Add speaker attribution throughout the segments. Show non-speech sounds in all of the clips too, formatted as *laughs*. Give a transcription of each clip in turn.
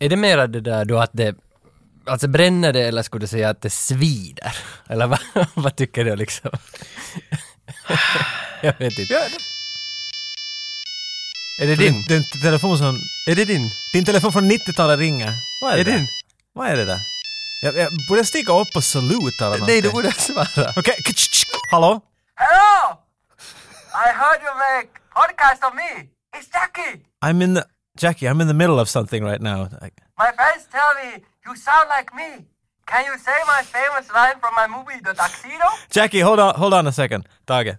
Speaker 1: Är det mera det där då att det, alltså bränner det eller skulle du säga att det svider? Eller vad, *laughs* vad tycker du liksom? *laughs* Jag vet inte. Är det din?
Speaker 2: Din telefon som...
Speaker 1: Är det din?
Speaker 2: Din telefon från 90-talet ringer. Vad är det
Speaker 1: Är
Speaker 2: där?
Speaker 1: din?
Speaker 2: Vad är det där? Jag, jag borde stiga upp och saluta eller
Speaker 1: Nej,
Speaker 2: någonting.
Speaker 1: du borde svara.
Speaker 2: Okej, ktsch, ktsch. hallå?
Speaker 3: Hello! I heard you make podcast of me. It's Jackie.
Speaker 2: I'm in the... Jackie, I'm in the middle of something right now. I,
Speaker 3: My friends tell me you sound like me. Can you say my famous line from my movie The Tuxedo?
Speaker 2: Jackie, hold on, hold on a second. Tage.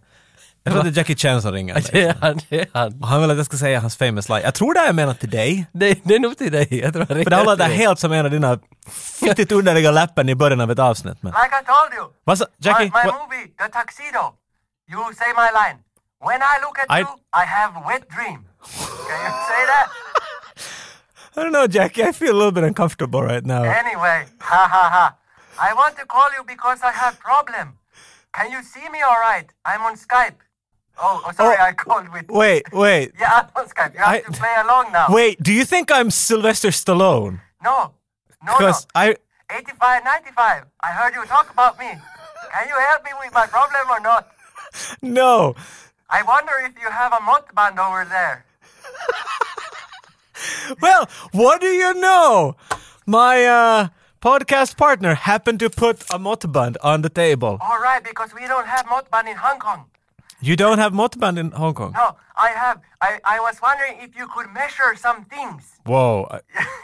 Speaker 2: Jag tror att det är Jackie Chan som ringer.
Speaker 1: *laughs* Det är han, det är han.
Speaker 2: Och Han vill att jag ska säga hans famous line. Jag tror det här är menat till dig.
Speaker 1: Det, det är nog till dig, jag tror
Speaker 2: För det här låter helt som en av dina fittigt underliga läppen i början av ett avsnitt. Men.
Speaker 3: Like I told you.
Speaker 2: Vad sa... Jackie?
Speaker 3: my my
Speaker 2: what-
Speaker 3: movie The Tuxedo. You say my line. When I look at
Speaker 2: I-
Speaker 3: you, I have wet dream. Can you say that?
Speaker 2: I don't know Jackie, I feel a little bit uncomfortable right now.
Speaker 3: Anyway, ha ha ha. I want to call you because I have problem. Can you see me all right? I'm on Skype. Oh, oh sorry,
Speaker 2: Oh,
Speaker 3: I called with...
Speaker 2: Wait, wait.
Speaker 3: Yeah, I'm on Skype. You have
Speaker 2: I-
Speaker 3: to play along now.
Speaker 2: Wait, do you think I'm Sylvester Stallone?
Speaker 3: No, Oh, no, no.
Speaker 2: Because I...
Speaker 3: 85, 95. I heard you talk about me. Can you help me with my problem or not?
Speaker 2: No!
Speaker 3: I wonder if you have a motorband over there.
Speaker 2: Well, what do you know? My uh, podcast partner happened to put a motoband on the table.
Speaker 3: All right, because we don't have motorband in Hong Kong.
Speaker 2: You don't have motoband in Hong Kong?
Speaker 3: No, I have. I, I was wondering if you could measure some things.
Speaker 2: Whoa.
Speaker 3: *laughs*
Speaker 2: I-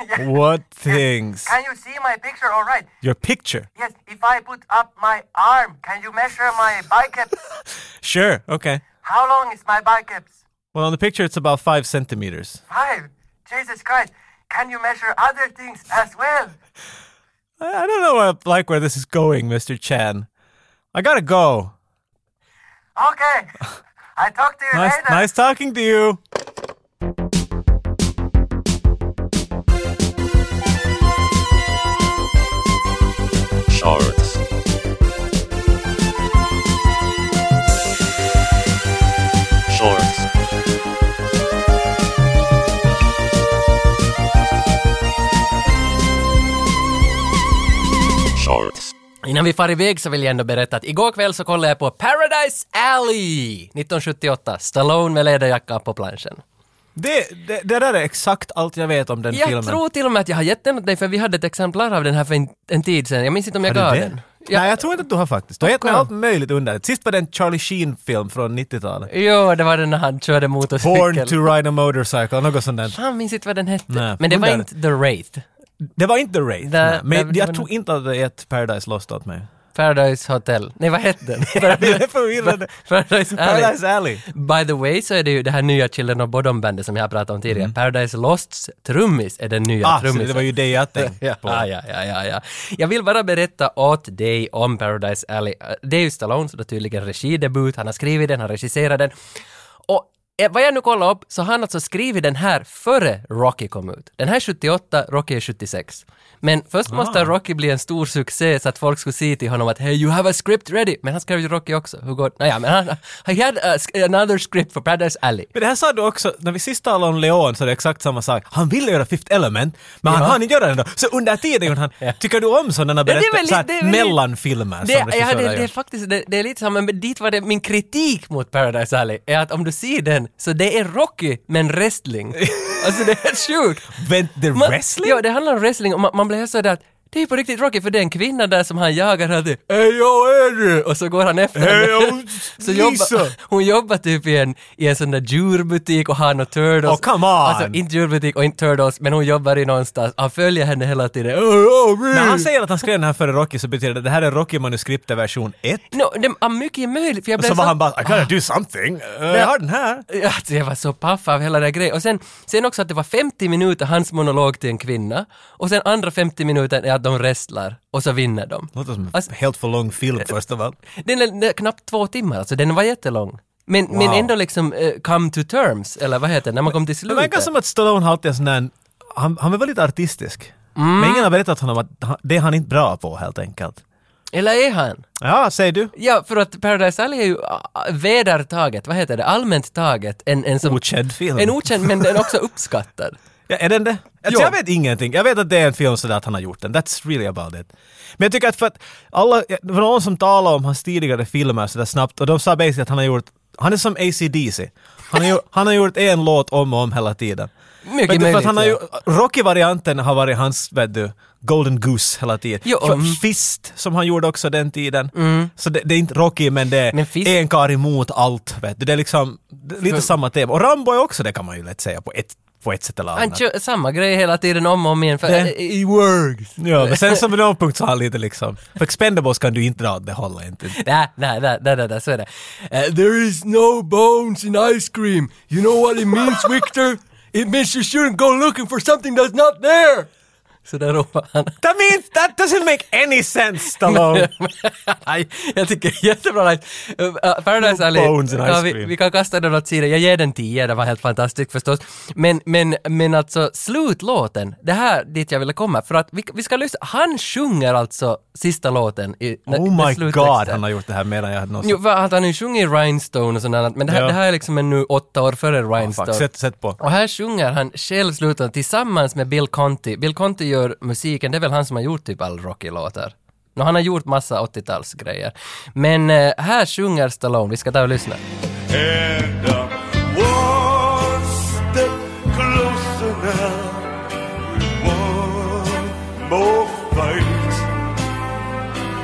Speaker 3: Yeah.
Speaker 2: What things?
Speaker 3: Can you see my picture all right?
Speaker 2: Your picture.
Speaker 3: Yes, if I put up my arm, can you measure my biceps?
Speaker 2: Sure, okay.
Speaker 3: How long is my biceps?
Speaker 2: Well, on the picture, it's about five centimeters.
Speaker 3: Five. Jesus Christ. Can you measure other things as well?
Speaker 2: I, I don't know uh, like where this is going, Mr. Chan. I gotta go.
Speaker 3: Okay. I talk to you
Speaker 2: Nice,
Speaker 3: later.
Speaker 2: nice talking to you.
Speaker 4: shorts. Shorts. Shorts.
Speaker 1: Innan vi far iväg så vill jag ändå berätta att igår kväll så kollade jag på Paradise Alley 1978, Stallone med läderjacka på planschen.
Speaker 2: Det, det, er det där är exakt allt jag vet om den
Speaker 1: Jag
Speaker 2: filmen.
Speaker 1: tror till och med att jag har gett den åt dig för vi hade ett exemplar av den här för en, en tid sedan. Jag minns inte om jag
Speaker 2: Har
Speaker 1: gav
Speaker 2: du
Speaker 1: den.
Speaker 2: den?
Speaker 1: Ja.
Speaker 2: Nej, jag tror inte att du har faktiskt. Du har gett mig
Speaker 1: Kolla.
Speaker 2: allt möjligt underligt. Sist var det en Charlie Sheen-film
Speaker 1: *laughs*
Speaker 2: från 90-talet.
Speaker 1: Jo, det var den när han körde motorcykel.
Speaker 2: Born to ride a motorcycle, något sånt där.
Speaker 1: Fan, minns inte vad den hette.
Speaker 2: Nej,
Speaker 1: Men det var
Speaker 2: undrar.
Speaker 1: inte The Wraith.
Speaker 2: Det var inte The Wraith, nej. men
Speaker 1: det-
Speaker 2: jag
Speaker 1: det-
Speaker 2: tror inte att det är ett Paradise Lost åt mig.
Speaker 1: Paradise Hotel. Nej, vad hette
Speaker 2: *laughs*
Speaker 1: den?
Speaker 2: Det är förvirrande.
Speaker 1: *laughs* Paradise Alley.
Speaker 2: Paradise Alley.
Speaker 1: By the way så är det ju det här nya Children of Bodom-bandet som jag har pratat om tidigare. Paradise Losts trummis är den nya
Speaker 2: Mm. Ah, så
Speaker 1: trummisen.
Speaker 2: det var ju det jag
Speaker 1: *laughs* Ja, Ah,
Speaker 2: tänkte på.
Speaker 1: ja, ja, ja, ja. Jag vill bara berätta åt dig om Paradise Alley. Eh, Det är ju Stallones då tydligen regidebut, han har skrivit den, han regisserar den. Och eh, vad jag nu kollar upp så har han alltså skrivit den här före Rocky kom ut. Den här är 78, Rocky är 76. Men först måste Rocky bli en stor succé så att folk skulle säga till honom att “Hey, you have a script ready!” Men han skrev ju Rocky också. Hur går det? Naja, men han he had a, another script for Paradise Alley.
Speaker 2: Men det här sa du också, när vi sist talade om Leon så är det exakt samma sak. Han ville göra Fifth Element, men han
Speaker 1: Ja.
Speaker 2: hann inte göra det ändå. Så under tiden gjorde han... Tycker du om sådana
Speaker 1: det är väl
Speaker 2: berättelser? Så
Speaker 1: lite- det
Speaker 2: här
Speaker 1: är väl lite-
Speaker 2: mellanfilmer
Speaker 1: Det,
Speaker 2: som
Speaker 1: ja,
Speaker 2: regissörer
Speaker 1: det, det är
Speaker 2: gör?
Speaker 1: faktiskt, det, det är lite samma, men dit var det min kritik mot Paradise Alley är att om du ser den så det är Rocky men wrestling.
Speaker 2: *laughs*
Speaker 1: alltså det är helt sjukt.
Speaker 2: Vänt, det
Speaker 1: Man-
Speaker 2: är wrestling?
Speaker 1: Ja, det handlar om wrestling och man, man blir helt sådär att det är på riktigt Rocky för det är en kvinna där som han jagar alltid ”Hej jag är du!” och så går han efter
Speaker 2: Hej,
Speaker 1: henne. *laughs*
Speaker 2: jag-
Speaker 1: så jobba,
Speaker 2: Lisa!
Speaker 1: hon jobbar typ i en, i en sån där djurbutik och har något turtles.
Speaker 2: Åh, come on!
Speaker 1: Alltså inte djurbutik och inte turtles men hon jobbar i någonstans. Han följer henne hela tiden. "Åh, åh,
Speaker 2: När
Speaker 1: åh."
Speaker 2: han säger att han skrev den här före Rocky så betyder det att det här är Rocky-manuskriptet version 1.
Speaker 1: No, det är mycket möjligt för jag
Speaker 2: Och
Speaker 1: blev
Speaker 2: så var han bara I gotta do something. Eh, jag har den här.
Speaker 1: Ja, Alltså jag var så paff av hela den här grejen. Och sen, sen också att det var 50 minuter hans monolog till en kvinna och sen andra 50 minuter är att de wrestlar och så vinner de.
Speaker 2: Låter som en
Speaker 1: Alltså-
Speaker 2: helt för lång film först av allt.
Speaker 1: Den är, den är knappt två timmar, alltså den var jättelång. Men, men
Speaker 2: Wow.
Speaker 1: ändå liksom eh, come to terms, eller vad heter det, när man kom till
Speaker 2: Det verkar
Speaker 1: slutet.
Speaker 2: som att Stallone har alltid en sån där, han, han är väldigt artistisk. Men ingen har berättat honom att han, det är han inte bra på helt enkelt.
Speaker 1: Eller är han?
Speaker 2: Ja, säger du?
Speaker 1: Ja, för att Paradise Alley är ju ah, ah, vedertaget, vad heter det, allmänt taget. En, en som,
Speaker 2: Okänd film.
Speaker 1: En okänd, men den är också uppskattad.
Speaker 2: ja, är den det?
Speaker 1: Jo.
Speaker 2: Alltså, jag vet ingenting. Jag vet att det är en film sådär att han har gjort den. That's really about it. Men jag tycker att för att alla, det var någon som talade om hans tidigare filmer sådär snabbt och de sa basically att han har gjort, han är som AC/DC. Han har, gjort,
Speaker 1: *laughs*
Speaker 2: han har gjort en låt om och om hela tiden.
Speaker 1: Mycket
Speaker 2: Vet du, för
Speaker 1: möjligt,
Speaker 2: att han har
Speaker 1: ja.
Speaker 2: ju, Rocky-varianten har varit hans, vet du, Golden Goose hela tiden.
Speaker 1: Jo,
Speaker 2: För
Speaker 1: mm.
Speaker 2: Fist, som han gjorde också den tiden. Så det, det är inte Rocky, men det är
Speaker 1: Men Fist-
Speaker 2: en kar emot allt, vet du. Det är liksom, det är lite samma tema. Och Rambo är också det kan man ju lätt säga på ett, på ett sätt eller annat.
Speaker 1: Han kör samma grej hela tiden om och om igen för
Speaker 2: Det-
Speaker 1: it works.
Speaker 2: Ja, men sen som vid någon punkt så har han lite liksom... För Expendables kan du inte dra åt det hållet inte.
Speaker 1: *laughs* Nej, nej, nej, nej, nej, nej, så är det. Eh, there is no bones in ice cream. You know what it *laughs* means, Victor? It means you shouldn't go looking for something that's not there! Så där ropar han. *laughs*
Speaker 2: That means that doesn't make any sense, Stallone!
Speaker 1: Nej, jag tycker jättebra nice. Uh, Paradise
Speaker 2: No
Speaker 1: Alley,
Speaker 2: bones in ice
Speaker 1: ja, vi,
Speaker 2: cream.
Speaker 1: vi kan kasta den åt sidan. Jag ger den 10, det var helt fantastiskt förstås. Men, men, men alltså slutlåten, det här dit jag ville komma, för att vi, vi ska lyssna, han sjunger alltså sista låten i
Speaker 2: oh
Speaker 1: i
Speaker 2: my
Speaker 1: sluttexten.
Speaker 2: god, han har gjort det här medan jag hade någon...
Speaker 1: Jo, för att han har ju sjungit i Rhinestone och sånt annat, men det här,
Speaker 2: Ja.
Speaker 1: det här är liksom en nu åtta år före Rhinestone.
Speaker 2: Fuck, sätt, sätt på.
Speaker 1: Och här sjunger han själv slutet tillsammans med Bill Conti. Bill Conti gör musiken, det är väl han som har gjort typ all Rocky-låtar. Nå, han har gjort massa 80-talsgrejer. Men eh, här sjunger Stallone, vi ska ta och lyssna.
Speaker 5: And uh, one step closer now with one more fight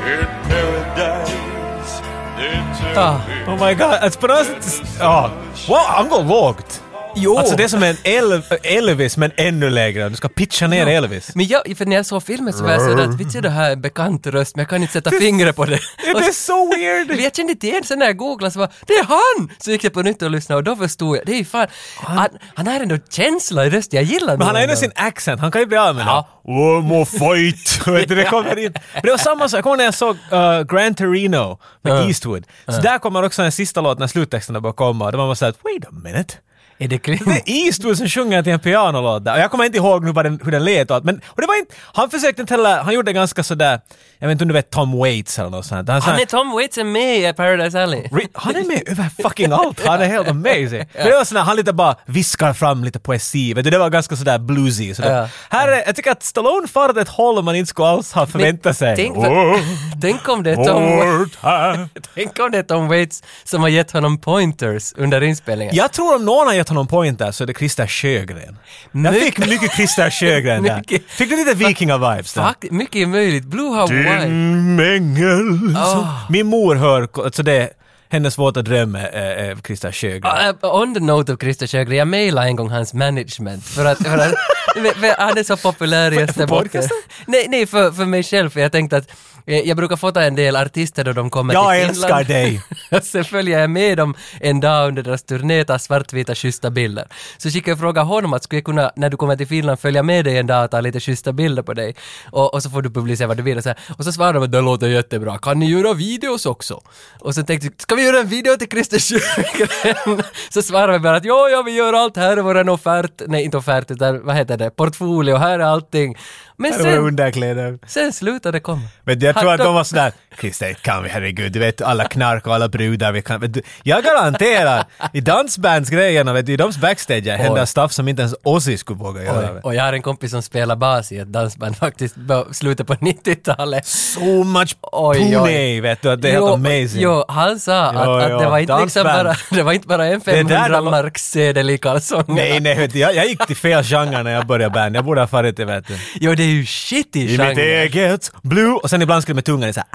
Speaker 5: in paradise. They tell
Speaker 1: Ah.
Speaker 5: me
Speaker 2: Oh my god, alltså på något sätt... Ja. Wow, han går lågt!
Speaker 1: Jo!
Speaker 2: Alltså det är som en El- Elvis, men ännu lägre. Du ska pitcha ner Elvis.
Speaker 1: Men jag, för när jag såg filmen så var jag sådär att visst är det här en bekant röst, men jag kan inte sätta fingret på det.
Speaker 2: Det
Speaker 1: Och
Speaker 2: är så
Speaker 1: *laughs* Men
Speaker 2: weird!
Speaker 1: jag kände inte igen, sen när jag googlade så var det är han! Så gick jag på nytt och lyssnade och då förstod jag, det är ju fan, han, han har ändå känsla i rösten, jag gillar
Speaker 2: Men han har
Speaker 1: honom.
Speaker 2: ändå sin accent, han kan ju bli av med
Speaker 1: Ja.
Speaker 2: den. One
Speaker 1: *laughs*
Speaker 2: more fight! Vet du, det kommer in. Men det var samma sak, jag kommer ihåg när jag såg uh, Gran Torino med Eastwood. Så där kommer också den sista låten, när sluttexterna börjar komma. Och då var man såhär, wait a minute.
Speaker 1: Är det Clint?
Speaker 2: Det är Eastwood som sjunger till en pianolåt där. Och jag kommer inte ihåg nu vad den, hur den lät och allt. Men, och det var inte, han försökte inte heller, han gjorde ganska sådär, jag vet inte om du vet Tom Waits eller något sånt. Han,
Speaker 1: Han är Tom Waits är med i Paradise Alley.
Speaker 2: Re- Han är med över fucking allt! Han är helt amazing! För det var sådär, han lite bara viskar fram lite poesi, vet du, det var ganska sådär bluesy. Sådär.
Speaker 1: Ja.
Speaker 2: Här är, jag tycker att Stallone far åt ett håll man inte skulle alls ha förväntat sig.
Speaker 1: Tänk, vad- *laughs* tänk, om det är Tom,
Speaker 2: Hårt här.
Speaker 1: *laughs* tänk om det är Tom Waits som har gett honom pointers under inspelningen.
Speaker 2: Jag tror om någon har gett honom poäng där så är det Christer Sjögren. Jag
Speaker 1: Mycket-
Speaker 2: fick mycket Christer Sjögren där.
Speaker 1: Mycket.
Speaker 2: Fick du lite vikinga-vibes där?
Speaker 1: Fuck, mycket är möjligt. Blue Hawaii.
Speaker 2: Din mängel.
Speaker 1: Ah.
Speaker 2: Min mor hör, alltså det, hennes våta dröm är, är, är Christer Sjögren.
Speaker 1: Uh, on the note of Christer Sjögren, jag mejlade en gång hans management för att, för att *laughs* för- för han är så populär i Österbotten.
Speaker 2: podcasten?
Speaker 1: Nej, nej för, för mig själv, för jag tänkte att eh, jag brukar få ta en del artister då de kommer
Speaker 2: Jag
Speaker 1: till Finland.
Speaker 2: älskar dig.
Speaker 1: *laughs* Sen följer jag med dem en dag under deras turné, tar svartvita schyssta bilder. Så skickade jag fråga honom att skulle jag kunna, när du kommer till Finland, följa med dig en dag och ta lite schyssta bilder på dig. Och, och så får du publicera vad du vill och så här. Och så svarade de att det låter jättebra, kan ni göra videos också? Och så tänkte jag, ska vi göra en video till Christer Sjögren? *laughs* så svarade vi bara att ja, ja, vi gör allt, här är vår offert, nej inte offert utan vad heter det, portfolio, här är allting. Men
Speaker 2: Det var
Speaker 1: sen,
Speaker 2: underkläder.
Speaker 1: sen slutade det komma.
Speaker 2: Men jag tror
Speaker 1: Han-
Speaker 2: att de var sådär, Christer, kan vi herregud, du vet alla knark och alla brudar vi kan. vet du." Jag garanterar, i dansbandsgrejerna, vet du, i de backstage händer
Speaker 1: Oj.
Speaker 2: stuff som inte ens Ozzy skulle våga göra.
Speaker 1: Och jag har en kompis som spelar bas i ett dansband *laughs* faktiskt på slutet på 90-talet.
Speaker 2: So much
Speaker 1: Oj, oj.
Speaker 2: pune, vet du, att det är helt amazing.
Speaker 1: Jo, han sa att,
Speaker 2: Jo,
Speaker 1: att det
Speaker 2: jo,
Speaker 1: var inte liksom
Speaker 2: dansband.
Speaker 1: bara, *laughs* det var inte bara en
Speaker 2: där de-
Speaker 1: 500 marks sedel i kalsongerna.
Speaker 2: Nej, nej, vet du, jag, jag gick till fel genre när jag började band. Jag borde ha farit det, vet du.
Speaker 1: Jo, det är ju shit i
Speaker 2: I mitt
Speaker 1: genren.
Speaker 2: eget blue. Och sen ibland skulle det med tungan såhär,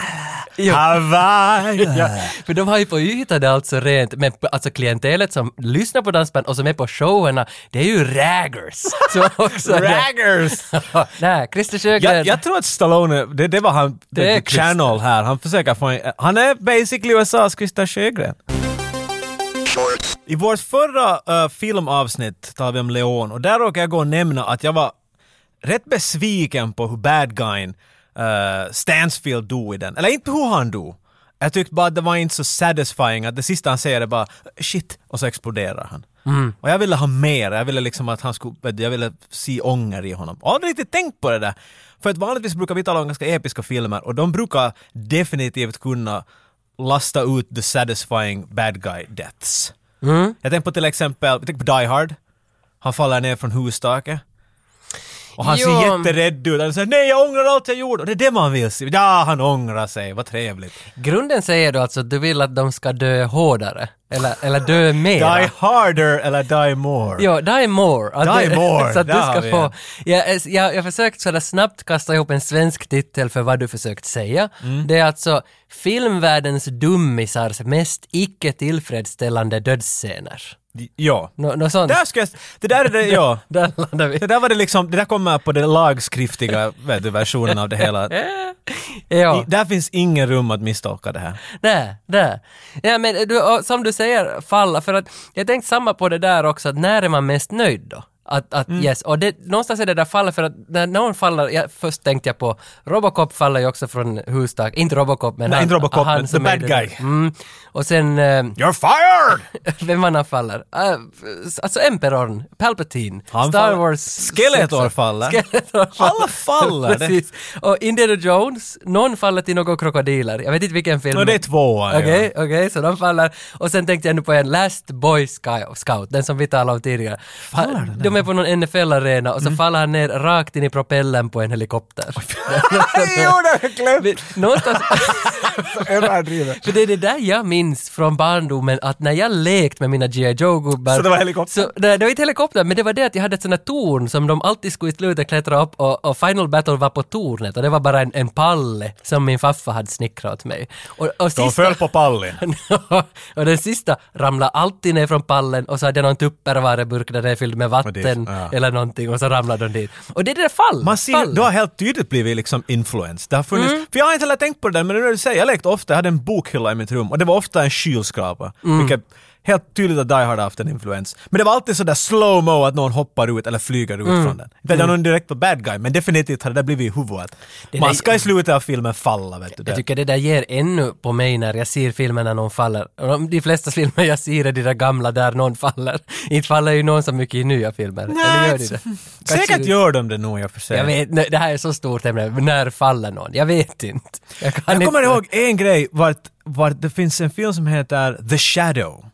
Speaker 1: Jo.
Speaker 2: "Ah, Hawaii.
Speaker 1: Ja, för de har ju på ytan det alltså rent, men på- alltså klientelet som lyssnar på dansband och som är på showerna, det är ju raggers. *laughs* Så också *laughs*
Speaker 2: Raggers!
Speaker 1: Nej, Christer Sjögren.
Speaker 2: Jag, jag tror att Stallone, det, det var han, det,
Speaker 1: Det är
Speaker 2: är channel här. Han försöker få en, Han är basically USAs Christer Sjögren. I vårt förra eh, filmavsnitt talade vi om Leon och där råkade jag gå och nämna att jag var rätt besviken på hur bad guyn eh, Stansfield dog i den. Eller inte hur han dog. Jag tyckte bara att det var inte så satisfying att det sista han säger är bara shit och så exploderar han. Och jag ville ha mer, jag ville liksom att han skulle, vet du, jag ville se ånger i honom. Jag har aldrig riktigt tänkt på det där. För att vanligtvis brukar vi tala om ganska episka filmer och de brukar definitivt kunna lasta ut the satisfying bad guy deaths.
Speaker 1: Mm.
Speaker 2: Jag tänker på till exempel, jag tänker på Die Hard. Han faller ner från hustaket. Och han
Speaker 1: Jo.
Speaker 2: ser jätterädd ut. Han säger nej jag ångrar allt jag gjorde. Och det är det man vill se. Ja, han ångrar sig. Vad trevligt.
Speaker 1: Grunden säger du alltså att du vill att de ska dö hårdare? Eller, eller dö mer?
Speaker 2: Die harder eller die more.
Speaker 1: Ja, die more. Att
Speaker 2: Die
Speaker 1: det- *laughs*
Speaker 2: more,
Speaker 1: så att
Speaker 2: där
Speaker 1: du
Speaker 2: har
Speaker 1: ska
Speaker 2: vi
Speaker 1: få... Jag, jag, jag försökte sådär snabbt kasta ihop en svensk titel för vad du försökt säga.
Speaker 2: Mm.
Speaker 1: Det är alltså filmvärldens dummisars mest icke tillfredsställande dödsscener.
Speaker 2: ja.
Speaker 1: Nå, nå sånt.
Speaker 2: Där ska jag... Det där är det, ja.
Speaker 1: *laughs* Där landar vi.
Speaker 2: Det där var det liksom, det där kommer på den lagskriftiga vet du, versionen av det hela. I,
Speaker 1: *laughs* Ja,
Speaker 2: där finns ingen rum att misstolka det här.
Speaker 1: där, där. Ja, men du, och som du säger, falla, för att jag tänkte samma på det där också, att när är man mest nöjd då? Att, att
Speaker 2: Mm.
Speaker 1: yes, och det, någonstans är det där fallet för att när någon faller, jag, först tänkte jag på Robocop faller ju också från hustak, inte Robocop men
Speaker 2: Nej,
Speaker 1: han,
Speaker 2: inte Robocop,
Speaker 1: han
Speaker 2: men
Speaker 1: som
Speaker 2: the
Speaker 1: är
Speaker 2: bad
Speaker 1: det
Speaker 2: guy.
Speaker 1: där. Mm. Och sen, eh, *laughs*
Speaker 2: You're fired!
Speaker 1: vem annan faller? Uh, alltså Emperorn, Palpatine,
Speaker 2: Han
Speaker 1: Star
Speaker 2: faller.
Speaker 1: Wars...
Speaker 2: Skeletor faller.
Speaker 1: Skeletor
Speaker 2: Alla faller.
Speaker 1: *laughs*
Speaker 2: Det-
Speaker 1: Precis. Och Indiana Jones, någon faller till några krokodiler. Jag vet inte vilken film.
Speaker 2: Nå, det är tvåan. ja.
Speaker 1: Okej, okej, så de faller. Och sen tänkte jag nu på en Last Boy Sky- Scout, den som vi talade om tidigare. Han, de är på någon NFL-arena och så
Speaker 2: Mm.
Speaker 1: faller han ner rakt in i propellen på en helikopter. *laughs*
Speaker 2: Jo, det har jag glömt!
Speaker 1: Vi-
Speaker 2: *laughs*
Speaker 1: Någonstans...
Speaker 2: Överdrivet.
Speaker 1: För det är det där jag minns från barndomen, att när jag lekt med mina G.I. Joe-gubbar...
Speaker 2: Så det var helikopter?
Speaker 1: Så, nej, det var inte helikopter, men det var det att jag hade ett sånt här torn som de alltid skulle i slutet klättra upp och, och Final Battle var på tornet och det var bara en, en palle som min faffa hade snickrat åt mig. Och, och
Speaker 2: De
Speaker 1: sista...
Speaker 2: föll på pallen.
Speaker 1: *laughs* och den sista ramlade alltid ner från pallen och så hade jag någon tuppervareburk där den är fylld med vatten
Speaker 2: det- ja.
Speaker 1: eller någonting och så ramlade de dit. Och det är det där fall,
Speaker 2: Man ser,
Speaker 1: fall. Mm.
Speaker 2: du har helt tydligt blivit liksom influenced. Det har funnits, För jag har inte heller tänkt på det där, men nu när du säger, jag lekte ofta, jag hade en bokhylla i mitt rum och det var ofta en kylskrapa.
Speaker 1: Mm.
Speaker 2: Vilket helt tydligt att Die Hard har haft en influens. Men det var alltid sådär slow-mo att någon hoppar ut eller flyger
Speaker 1: Mm.
Speaker 2: ut från den. Det var någon direkt på bad guy, men definitivt har det där blivit i huvudet. Man ska i slutet av filmen falla, vet du.
Speaker 1: Jag
Speaker 2: Det.
Speaker 1: tycker det där ger ännu på mig när jag ser filmer när någon faller. Och de- De flesta filmer jag ser är de där gamla där någon faller. *laughs* Inte faller ju någon så mycket i nya filmer. Eller gör de det? Kanske
Speaker 2: *laughs* Säkert
Speaker 1: det-
Speaker 2: gör de det nog i och för sig.
Speaker 1: Jag vet, nej, det här är så stort ämne. När faller någon? Jag vet inte. Jag, kan
Speaker 2: Jag kommer
Speaker 1: inte.
Speaker 2: ihåg en grej, vart, vart det finns en film som heter The Shadow.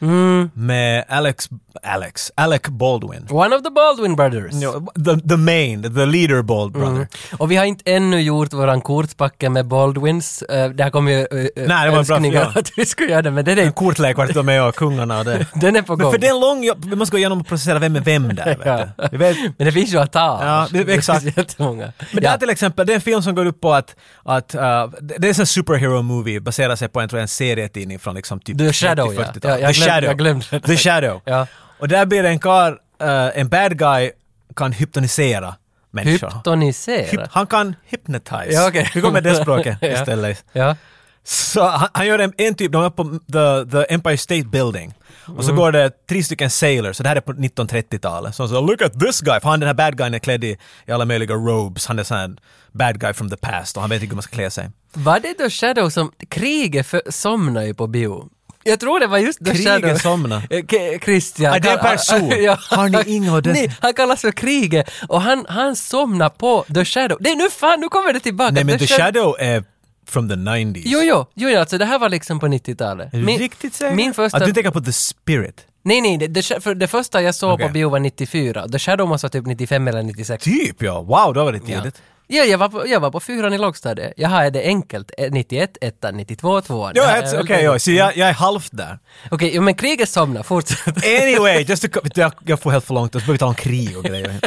Speaker 1: Mm.
Speaker 2: Med Alex, Alex, Alec Baldwin.
Speaker 1: One of the Baldwin Brothers.
Speaker 2: No, the, the main, the leader Bald
Speaker 1: Mm.
Speaker 2: brother.
Speaker 1: Och vi har inte ännu gjort våran kortpacke med Baldwins. Eh, Det här kommer ju eh, eh,
Speaker 2: var en bra
Speaker 1: önskningar *laughs*
Speaker 2: fråga.
Speaker 1: att vi skulle göra det, men den är,
Speaker 2: En kortlek vart de är och kungarna och det.
Speaker 1: den är på
Speaker 2: Men
Speaker 1: gång.
Speaker 2: för det är en lång, jobb- vi måste gå igenom och processera vem är vem där.
Speaker 1: *laughs* Ja.
Speaker 2: Vet du. Vi vet,
Speaker 1: Men det finns ju att ta av.
Speaker 2: Ja, det-
Speaker 1: *laughs*
Speaker 2: exakt.
Speaker 1: Det finns jättemånga.
Speaker 2: men
Speaker 1: ja.
Speaker 2: där till exempel, det är en film som går upp på att, att eh, det det är en sån superhero movie baserad sig på en, tror jag, en serietidning från liksom typ
Speaker 1: The Shadow,
Speaker 2: 30-40-talet.
Speaker 1: ja. Ja, jag
Speaker 2: The
Speaker 1: glömde-
Speaker 2: Shadow.
Speaker 1: jag glömde.
Speaker 2: The Shadow.
Speaker 1: Ja.
Speaker 2: Och där blir det en kar, eh, en bad guy kan hypnotisera människor.
Speaker 1: Hyptonisera.
Speaker 2: Hyp- han kan hypnotize.
Speaker 1: Ja, okej.
Speaker 2: Vi går med det språket
Speaker 1: *laughs* Ja.
Speaker 2: istället.
Speaker 1: Ja.
Speaker 2: Så han, han gör en, en typ, de är på the, the Empire State Building. Och så
Speaker 1: Mm.
Speaker 2: går det tre stycken sailors, så det här är på 1930-talet. Så han säger “Look at this guy”, för han den här bad guyen är klädd i, i alla möjliga robes. Han är sån här bad guy from the past och han vet inte hur man ska klä sig.
Speaker 1: Var det The Shadow som... Kriget för, somnade ju på bio. Jag tror det var just The
Speaker 2: Kriget
Speaker 1: Shadow.
Speaker 2: somnade?
Speaker 1: Eh, K- Christian.
Speaker 2: Ah, det är en
Speaker 1: Han- *laughs*
Speaker 2: person. Har ni inga att dö-
Speaker 1: Nej, han kallas för Kriget och han, han somnar på The Shadow. Det är nu fan, nu kommer det tillbaka.
Speaker 2: Nej men The Shadow är from the 90s.
Speaker 1: Jo, jo, jo, jo, alltså det här var liksom på 90-talet.
Speaker 2: Är du
Speaker 1: Min-
Speaker 2: riktigt säker?
Speaker 1: Min första...
Speaker 2: Att du tänker på The Spirit?
Speaker 1: Nej, nej, det, det, för det första jag såg
Speaker 2: Okej.
Speaker 1: på bio var 94. The Shadow måste vara typ 95 eller 96.
Speaker 2: Typ ja! Wow, då var det tidigt.
Speaker 1: Ja, jag var, på, jag var på fyran i lågstadiet. Jag har det enkelt. Eh, 91, 1, 92, 2.
Speaker 2: Ja, ett- okej, ja, så jag, jag är halvt där.
Speaker 1: Okej, jo, men kriget somnar, fortsätt.
Speaker 2: Eh, Anyway, just to, jag, jag får helt för långt, så behöver vi ta om krig och grejer.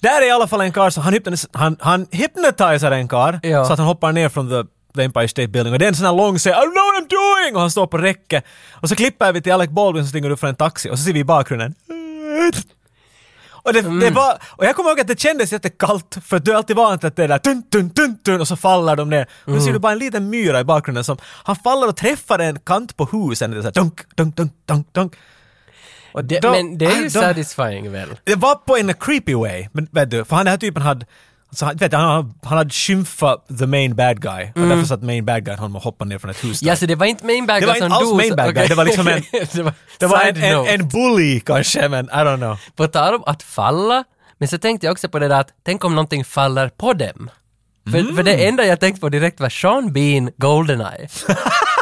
Speaker 2: Där är i alla fall en karl som, han, hypnotis, han, han hypnotiserar en karl
Speaker 1: Ja.
Speaker 2: så att han hoppar ner från the, the Empire State Building och det är en sån här lång scen, I don't know what I'm doing! Och han står på räcket. Och så klipper vi till Alec Baldwin som stinger upp från en taxi och så ser vi i bakgrunden och det, det
Speaker 1: Mm.
Speaker 2: var, och jag kommer ihåg att det kändes jättekallt för du är alltid van att det är där tun, tun, tun, tun och så faller de ner. Och då ser du
Speaker 1: Mm.
Speaker 2: bara en liten myra i bakgrunden som, han faller och träffar en kant på husen och det är såhär dunk, dunk, dunk, dunk, dunk. Och
Speaker 1: Det,
Speaker 2: då-
Speaker 1: men det är ju
Speaker 2: då-
Speaker 1: satisfying väl?
Speaker 2: Det var på en creepy way, men vet du, för han den här typen hade så han, vet du, han, han hade skymfat the main bad guy
Speaker 1: Mm.
Speaker 2: och därför satt main bad guy honom och hoppade ner från ett hus. där.
Speaker 1: Ja, så det var inte mainbaggar
Speaker 2: Det var inte
Speaker 1: som
Speaker 2: alls
Speaker 1: du-
Speaker 2: mainbaggar,
Speaker 1: Okej.
Speaker 2: det var liksom en-
Speaker 1: *laughs* det var,
Speaker 2: det var en,
Speaker 1: side
Speaker 2: en,
Speaker 1: note.
Speaker 2: en bully kanske, men I don't know.
Speaker 1: På tal om att falla, men så tänkte jag också på det där att tänk om någonting faller
Speaker 2: Mm. *laughs*
Speaker 1: på dem. För, för det enda jag tänkte på direkt var Sean Bean Goldeneye.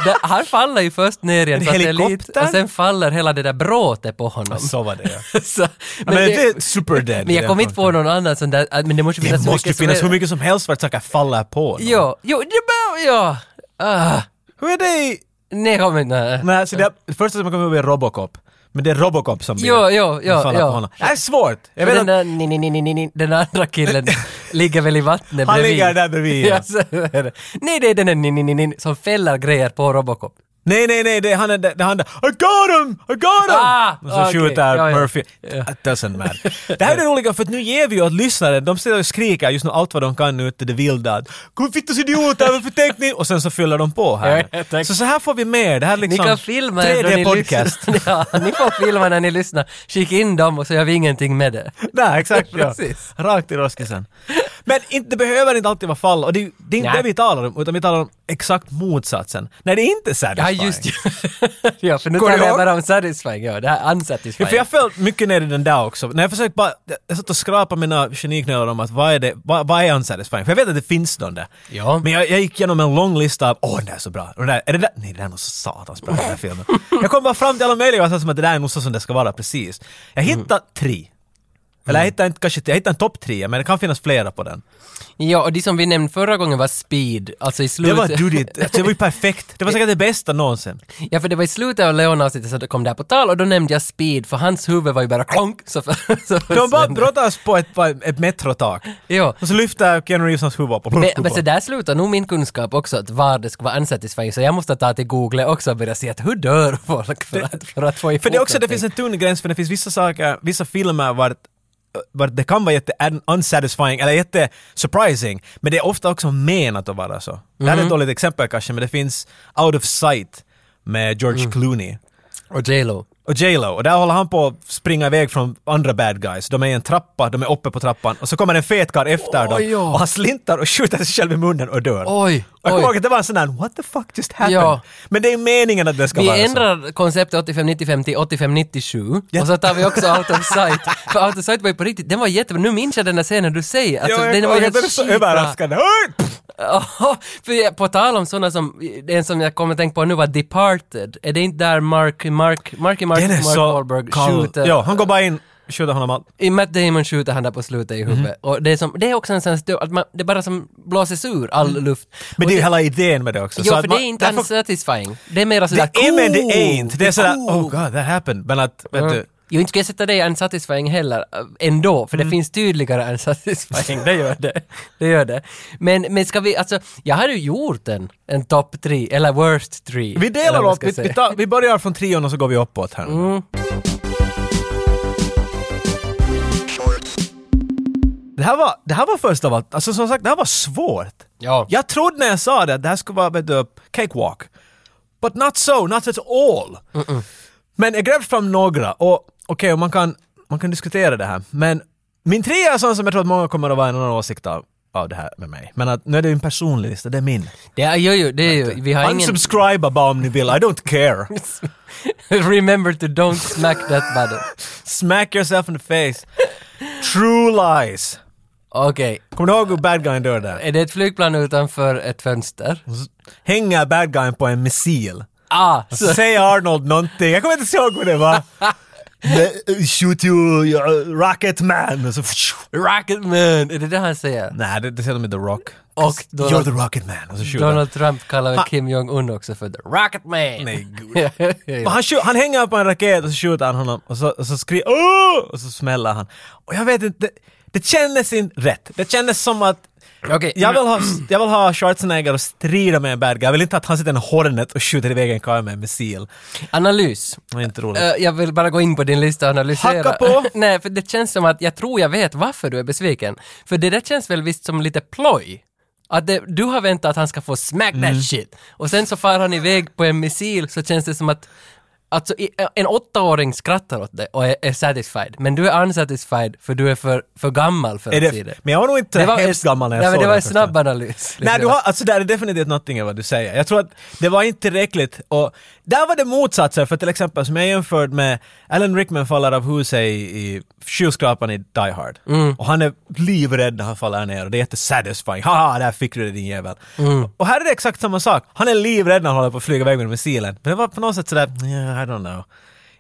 Speaker 1: Det, han faller ju först ner i en
Speaker 2: En
Speaker 1: satellit
Speaker 2: helikopter?
Speaker 1: och sen faller hela det där bråtet på honom.
Speaker 2: Så var det ja.
Speaker 1: *laughs* Så,
Speaker 2: Men,
Speaker 1: det-
Speaker 2: det är superdead.
Speaker 1: Men jag kom inte på någon annan sån där, äh, men det måste finnas
Speaker 2: Det måste ju
Speaker 1: som
Speaker 2: finnas
Speaker 1: är-
Speaker 2: hur mycket som helst för att saker faller på. någon.
Speaker 1: Jo, jo, det behöver jag! Ah,
Speaker 2: Hur är det i...
Speaker 1: nej, kom inte. nej.
Speaker 2: Nej, så det, det första som jag kommer ihåg är Robocop. Men det är Robocop som blir...
Speaker 1: Jo, jo, jo,
Speaker 2: som faller
Speaker 1: jo.
Speaker 2: på honom. Det här är svårt. Jag vet
Speaker 1: den,
Speaker 2: att
Speaker 1: där, ni, ni, ni, ni, ni, ni, den andra
Speaker 2: *laughs*
Speaker 1: killen ligger väl i vattnet
Speaker 2: han
Speaker 1: bredvid.
Speaker 2: ligger där bredvid.
Speaker 1: Ja,
Speaker 2: ja.
Speaker 1: så är det. Nej, det är den där ni, ni, ni, ni, ni, som fäller grejer på Robocop.
Speaker 2: Nej, nej, nej, det är han, det är han där. I got him! I got him!
Speaker 1: Ah,
Speaker 2: och så
Speaker 1: okej.
Speaker 2: skjuter
Speaker 1: Ja, ja.
Speaker 2: Murphy. That doesn't matter.
Speaker 1: *laughs*
Speaker 2: det här är det roliga för att nu ger vi ju åt lyssnare, de sitter och skriker just nu allt vad de kan ute i det vilda. att, Kom fittos idioter, varför tänkte ni? Och sen så fyller de på här.
Speaker 1: *laughs* Ja, tack.
Speaker 2: så så här får vi mer. Det här är
Speaker 1: Ni
Speaker 2: liksom
Speaker 1: kan filma er då ni *laughs*
Speaker 2: 3D-podcast.
Speaker 1: lyssnar. Ja, ni får filma när ni lyssnar. Skicka in dem och så gör vi ingenting med det. *laughs*
Speaker 2: *laughs* Nej, exakt. Ja.
Speaker 1: Precis.
Speaker 2: Rakt i roskisen. Men inte, det behöver inte alltid vara fall. Och det, är- det är inte
Speaker 1: Nej.
Speaker 2: det vi talar om, utan vi talar om exakt motsatsen. När det inte är
Speaker 1: Ja,
Speaker 2: satisfying.
Speaker 1: just det. *laughs* Ja, för nu
Speaker 2: Går det
Speaker 1: talar jag
Speaker 2: ihåg?
Speaker 1: bara om satisfying. Ja, det här är
Speaker 2: Ja, för
Speaker 1: unsatisfying.
Speaker 2: jag föll mycket ner i den där också. När jag försökte bara, jag satt och skrapade mina geniknölar om att vad är det, vad, vad är unsatisfying? För jag vet att det finns någon där.
Speaker 1: Ja.
Speaker 2: Men jag, jag gick igenom en lång lista av åh, den där är så bra. Och den där, är det där? Nej, den är nog så satans bra den där filmen. jag kom bara fram till alla möjliga och sa som att det där är nog så som det ska vara precis. Jag
Speaker 1: Mm.
Speaker 2: hittade tre. Eller jag hittade inte kanske, jag hittade en topp tre, men det kan finnas flera på den.
Speaker 1: Ja, och de som vi nämnde förra gången var speed, alltså i
Speaker 2: Det
Speaker 1: slutet.
Speaker 2: var dudigt. Alltså, det var ju perfekt. Det var säkert det bästa någonsin.
Speaker 1: *laughs* Ja, för det var i slutet av Leon-avsnittet så det kom där på tal och då nämnde jag speed, för hans huvud var ju bara klonk. Så *laughs* för, så
Speaker 2: De bara
Speaker 1: försvann det.
Speaker 2: brottas på ett, på ett metrotak.
Speaker 1: Ja.
Speaker 2: Och så lyfter Ken Reeves hans huvud upp och
Speaker 1: Men, men så där slutar nog min kunskap också, att var det skulle vara unsatisfying, så jag måste ta till Google också och börja se att hur dör folk för att, för att få ihop
Speaker 2: För det är också, det
Speaker 1: någonting.
Speaker 2: finns en tunn gräns för det finns vissa saker, vissa filmer vart vart det kan vara jätte un- unsatisfying eller jätte surprising men det är ofta också menat att vara så. Det här är ett
Speaker 1: Mhm.
Speaker 2: dåligt exempel kanske men det finns Out of sight med George
Speaker 1: Mm.
Speaker 2: Clooney
Speaker 1: Och J.Lo.
Speaker 2: och J.Lo och där håller han på att springa iväg från andra bad guys. De är i en trappa, de är uppe på trappan och så kommer en fet karl efter
Speaker 1: Oj,
Speaker 2: dem
Speaker 1: ja.
Speaker 2: och han slintar och skjuter sig själv i munnen och dör.
Speaker 1: Oj,
Speaker 2: och jag kommer
Speaker 1: oj.
Speaker 2: ihåg att det var en sån där “What the fuck just happened?”
Speaker 1: Ja.
Speaker 2: Men det är meningen att det ska vara
Speaker 1: Vi
Speaker 2: så.
Speaker 1: ändrar konceptet 85-95 till 85-97 och så tar vi också Out of Sight. För Out of Sight var ju på riktigt, den var jättebra. Nu minns jag den här scenen du säger. Alltså,
Speaker 2: Ja, jag
Speaker 1: den var
Speaker 2: kommer ihåg
Speaker 1: helt
Speaker 2: att det är så
Speaker 1: skitbra.
Speaker 2: överraskande. Oj!
Speaker 1: Ja, för jag- på tal om sådana som, en som jag kommer att tänka på nu var Departed. Är det inte där Mark, Mark, Marky Mark,
Speaker 2: Den är
Speaker 1: Mark
Speaker 2: så
Speaker 1: Wahlberg
Speaker 2: kall.
Speaker 1: skjuter?
Speaker 2: Ja, han går bara in, skjuter honom allt.
Speaker 1: I Matt Damon skjuter han där på slutet i huvudet.
Speaker 2: Mhm.
Speaker 1: Och det är, som, det är också en sån här att man, det bara som blåses ur all luft.
Speaker 2: Mm. Men
Speaker 1: Och
Speaker 2: det är ju hela idén med det också.
Speaker 1: Jo,
Speaker 2: att
Speaker 1: för
Speaker 2: man-
Speaker 1: det är inte
Speaker 2: därför-
Speaker 1: unsatisfying. Det är mera
Speaker 2: Det
Speaker 1: sådär
Speaker 2: är men det är inte. Det är sådär,
Speaker 1: cool.
Speaker 2: oh god, that happened. Men att, vet du.
Speaker 1: Mm. Jo, inte ska jag sätta det i unsatisfying heller, äh, ändå, för
Speaker 2: Mm.
Speaker 1: det finns tydligare
Speaker 2: *laughs*
Speaker 1: unsatisfying, det gör det. Det gör det. Men, men ska vi, alltså, jag hade ju gjort en, en top 3, eller worst 3.
Speaker 2: Vi delar upp, vi, vi, tar, vi börjar från trion och så går vi uppåt här.
Speaker 1: Mm.
Speaker 2: Det här, var, det här var först av allt, alltså som sagt, det här var svårt.
Speaker 1: Ja.
Speaker 2: Jag trodde när jag sa det att det här skulle vara vet du, cakewalk. But not so, not at all. Men jag grävde fram några och okej, och man, kan, man kan diskutera det här. Men min trea är sån som jag tror att många kommer att vara en annan åsikt av, av det här med mig. Men att, nu är det ju en personlig lista, det är min.
Speaker 1: Det är ju, ju, det är ju, vi har ingen...
Speaker 2: Unsubscribe bara om ni vill, I don't care.
Speaker 1: *laughs* Remember to don't smack that button.
Speaker 2: *laughs* Smack yourself in the face. True lies.
Speaker 1: Okej,
Speaker 2: Kommer du ihåg hur bad guyen dör där?
Speaker 1: är det ett flygplan utanför ett fönster?
Speaker 2: Hänger bad guyen på en missil.
Speaker 1: Ah!
Speaker 2: *laughs* Så säger Arnold någonting, jag kommer inte ihåg vad det var. Ne- Shoot you, you rocket man. Och så,
Speaker 1: Rocketman! Är det det han säger?
Speaker 2: nej, det, det säger de i The Rock.
Speaker 1: Och
Speaker 2: You're
Speaker 1: Donald,
Speaker 2: the rocket man. Och så skjuter han.
Speaker 1: Donald Trump kallar väl Kim Jong-Un också för the Rocketman!
Speaker 2: Nej, gud.
Speaker 1: *laughs*
Speaker 2: Men han, skju- han hänger upp en raket och så skjuter han honom och så, och så skriker Åh! och så smäller han. Och jag vet inte, det, det kändes inte rätt. Det kändes som att
Speaker 1: Okej,
Speaker 2: jag vill, ha, jag vill ha Schwarzenegger och strida med en bad guy. Jag vill inte att han sitter i en hornet och skjuter iväg en karl med en missil.
Speaker 1: analys.
Speaker 2: Det är inte roligt.
Speaker 1: Eh, jag vill bara gå in på din lista och analysera.
Speaker 2: Hacka på.
Speaker 1: *laughs* Nej, för det känns som att jag tror jag vet varför du är besviken. För det där känns väl visst som lite ploj? Att det, du har väntat att han ska få smack
Speaker 2: Mm.
Speaker 1: that shit. Och sen så far han iväg på en missil så känns det som att Alltså i- en åttaåring skrattar åt det och är, är satisfied. Men du är unsatisfied för du är för, för gammal för
Speaker 2: är
Speaker 1: att se
Speaker 2: det,
Speaker 1: det.
Speaker 2: men jag var nog inte hemskt gammal när jag
Speaker 1: nej,
Speaker 2: såg
Speaker 1: men det var en
Speaker 2: den första.
Speaker 1: snabb analys.
Speaker 2: Nej, du har, alltså det här är definitivt någonting av vad du säger. Jag tror att det var inte tillräckligt och Där var det motsatsen, för till exempel som jag jämförde med Alan Rickman faller av huset i, i skyskrapan i Die Hard. Och han är livrädd när han faller ner och det är jättesatisfying. Haha, där fick du det din jävel. Och här är det exakt samma sak. Han är livrädd när han håller på att flyga iväg med missilen. Men det var på något sätt sådär, yeah, I don't know.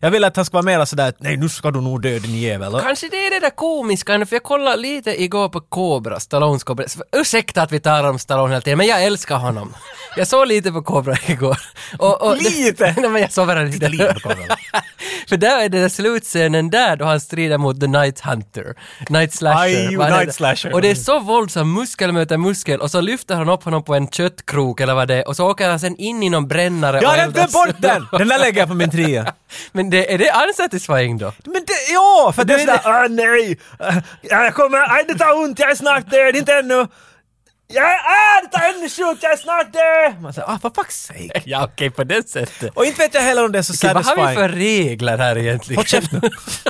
Speaker 2: Jag vill att han ska vara mera sådär, nej nu ska du nog dö din jävel. Och-
Speaker 1: Kanske det är det där komiska, för jag kollade lite igår på Cobra, Stallones Cobra. Ursäkta att vi talar om Stallone hela tiden, men jag älskar honom. Jag såg lite på Cobra *laughs* igår. Och, och,
Speaker 2: Lite?
Speaker 1: *laughs* Nej, men jag såg bara lite.
Speaker 2: lite på Cobra.
Speaker 1: *laughs* för där är den där slutscenen där då han strider mot The Night Hunter. Night Slasher.
Speaker 2: Aj,
Speaker 1: vad han
Speaker 2: Night
Speaker 1: heter.
Speaker 2: Slasher.
Speaker 1: Och det är så våldsam muskel möter muskel och så lyfter han upp honom på en köttkrok eller vad det är och så åker han sen in i någon brännare
Speaker 2: Jag
Speaker 1: och
Speaker 2: har jag glömt bort den! Den där lägger jag på min trea.
Speaker 1: *laughs* Men det, är det unsatisfying då?
Speaker 2: Men det, ja, för det är
Speaker 1: Det är
Speaker 2: sådär, ah, nej, Ah, jag kommer, aj det tar ont, jag är snart död, inte ännu. Ja, ah, det tar ännu sjukt, jag är snart död. Man säger, ah, for fuck's sake.
Speaker 1: Ja okej, på det sättet.
Speaker 2: Och inte vet jag heller om det är så
Speaker 1: Okej, vad har vi
Speaker 2: satisfying.
Speaker 1: för regler här egentligen?
Speaker 2: Håll käft nu.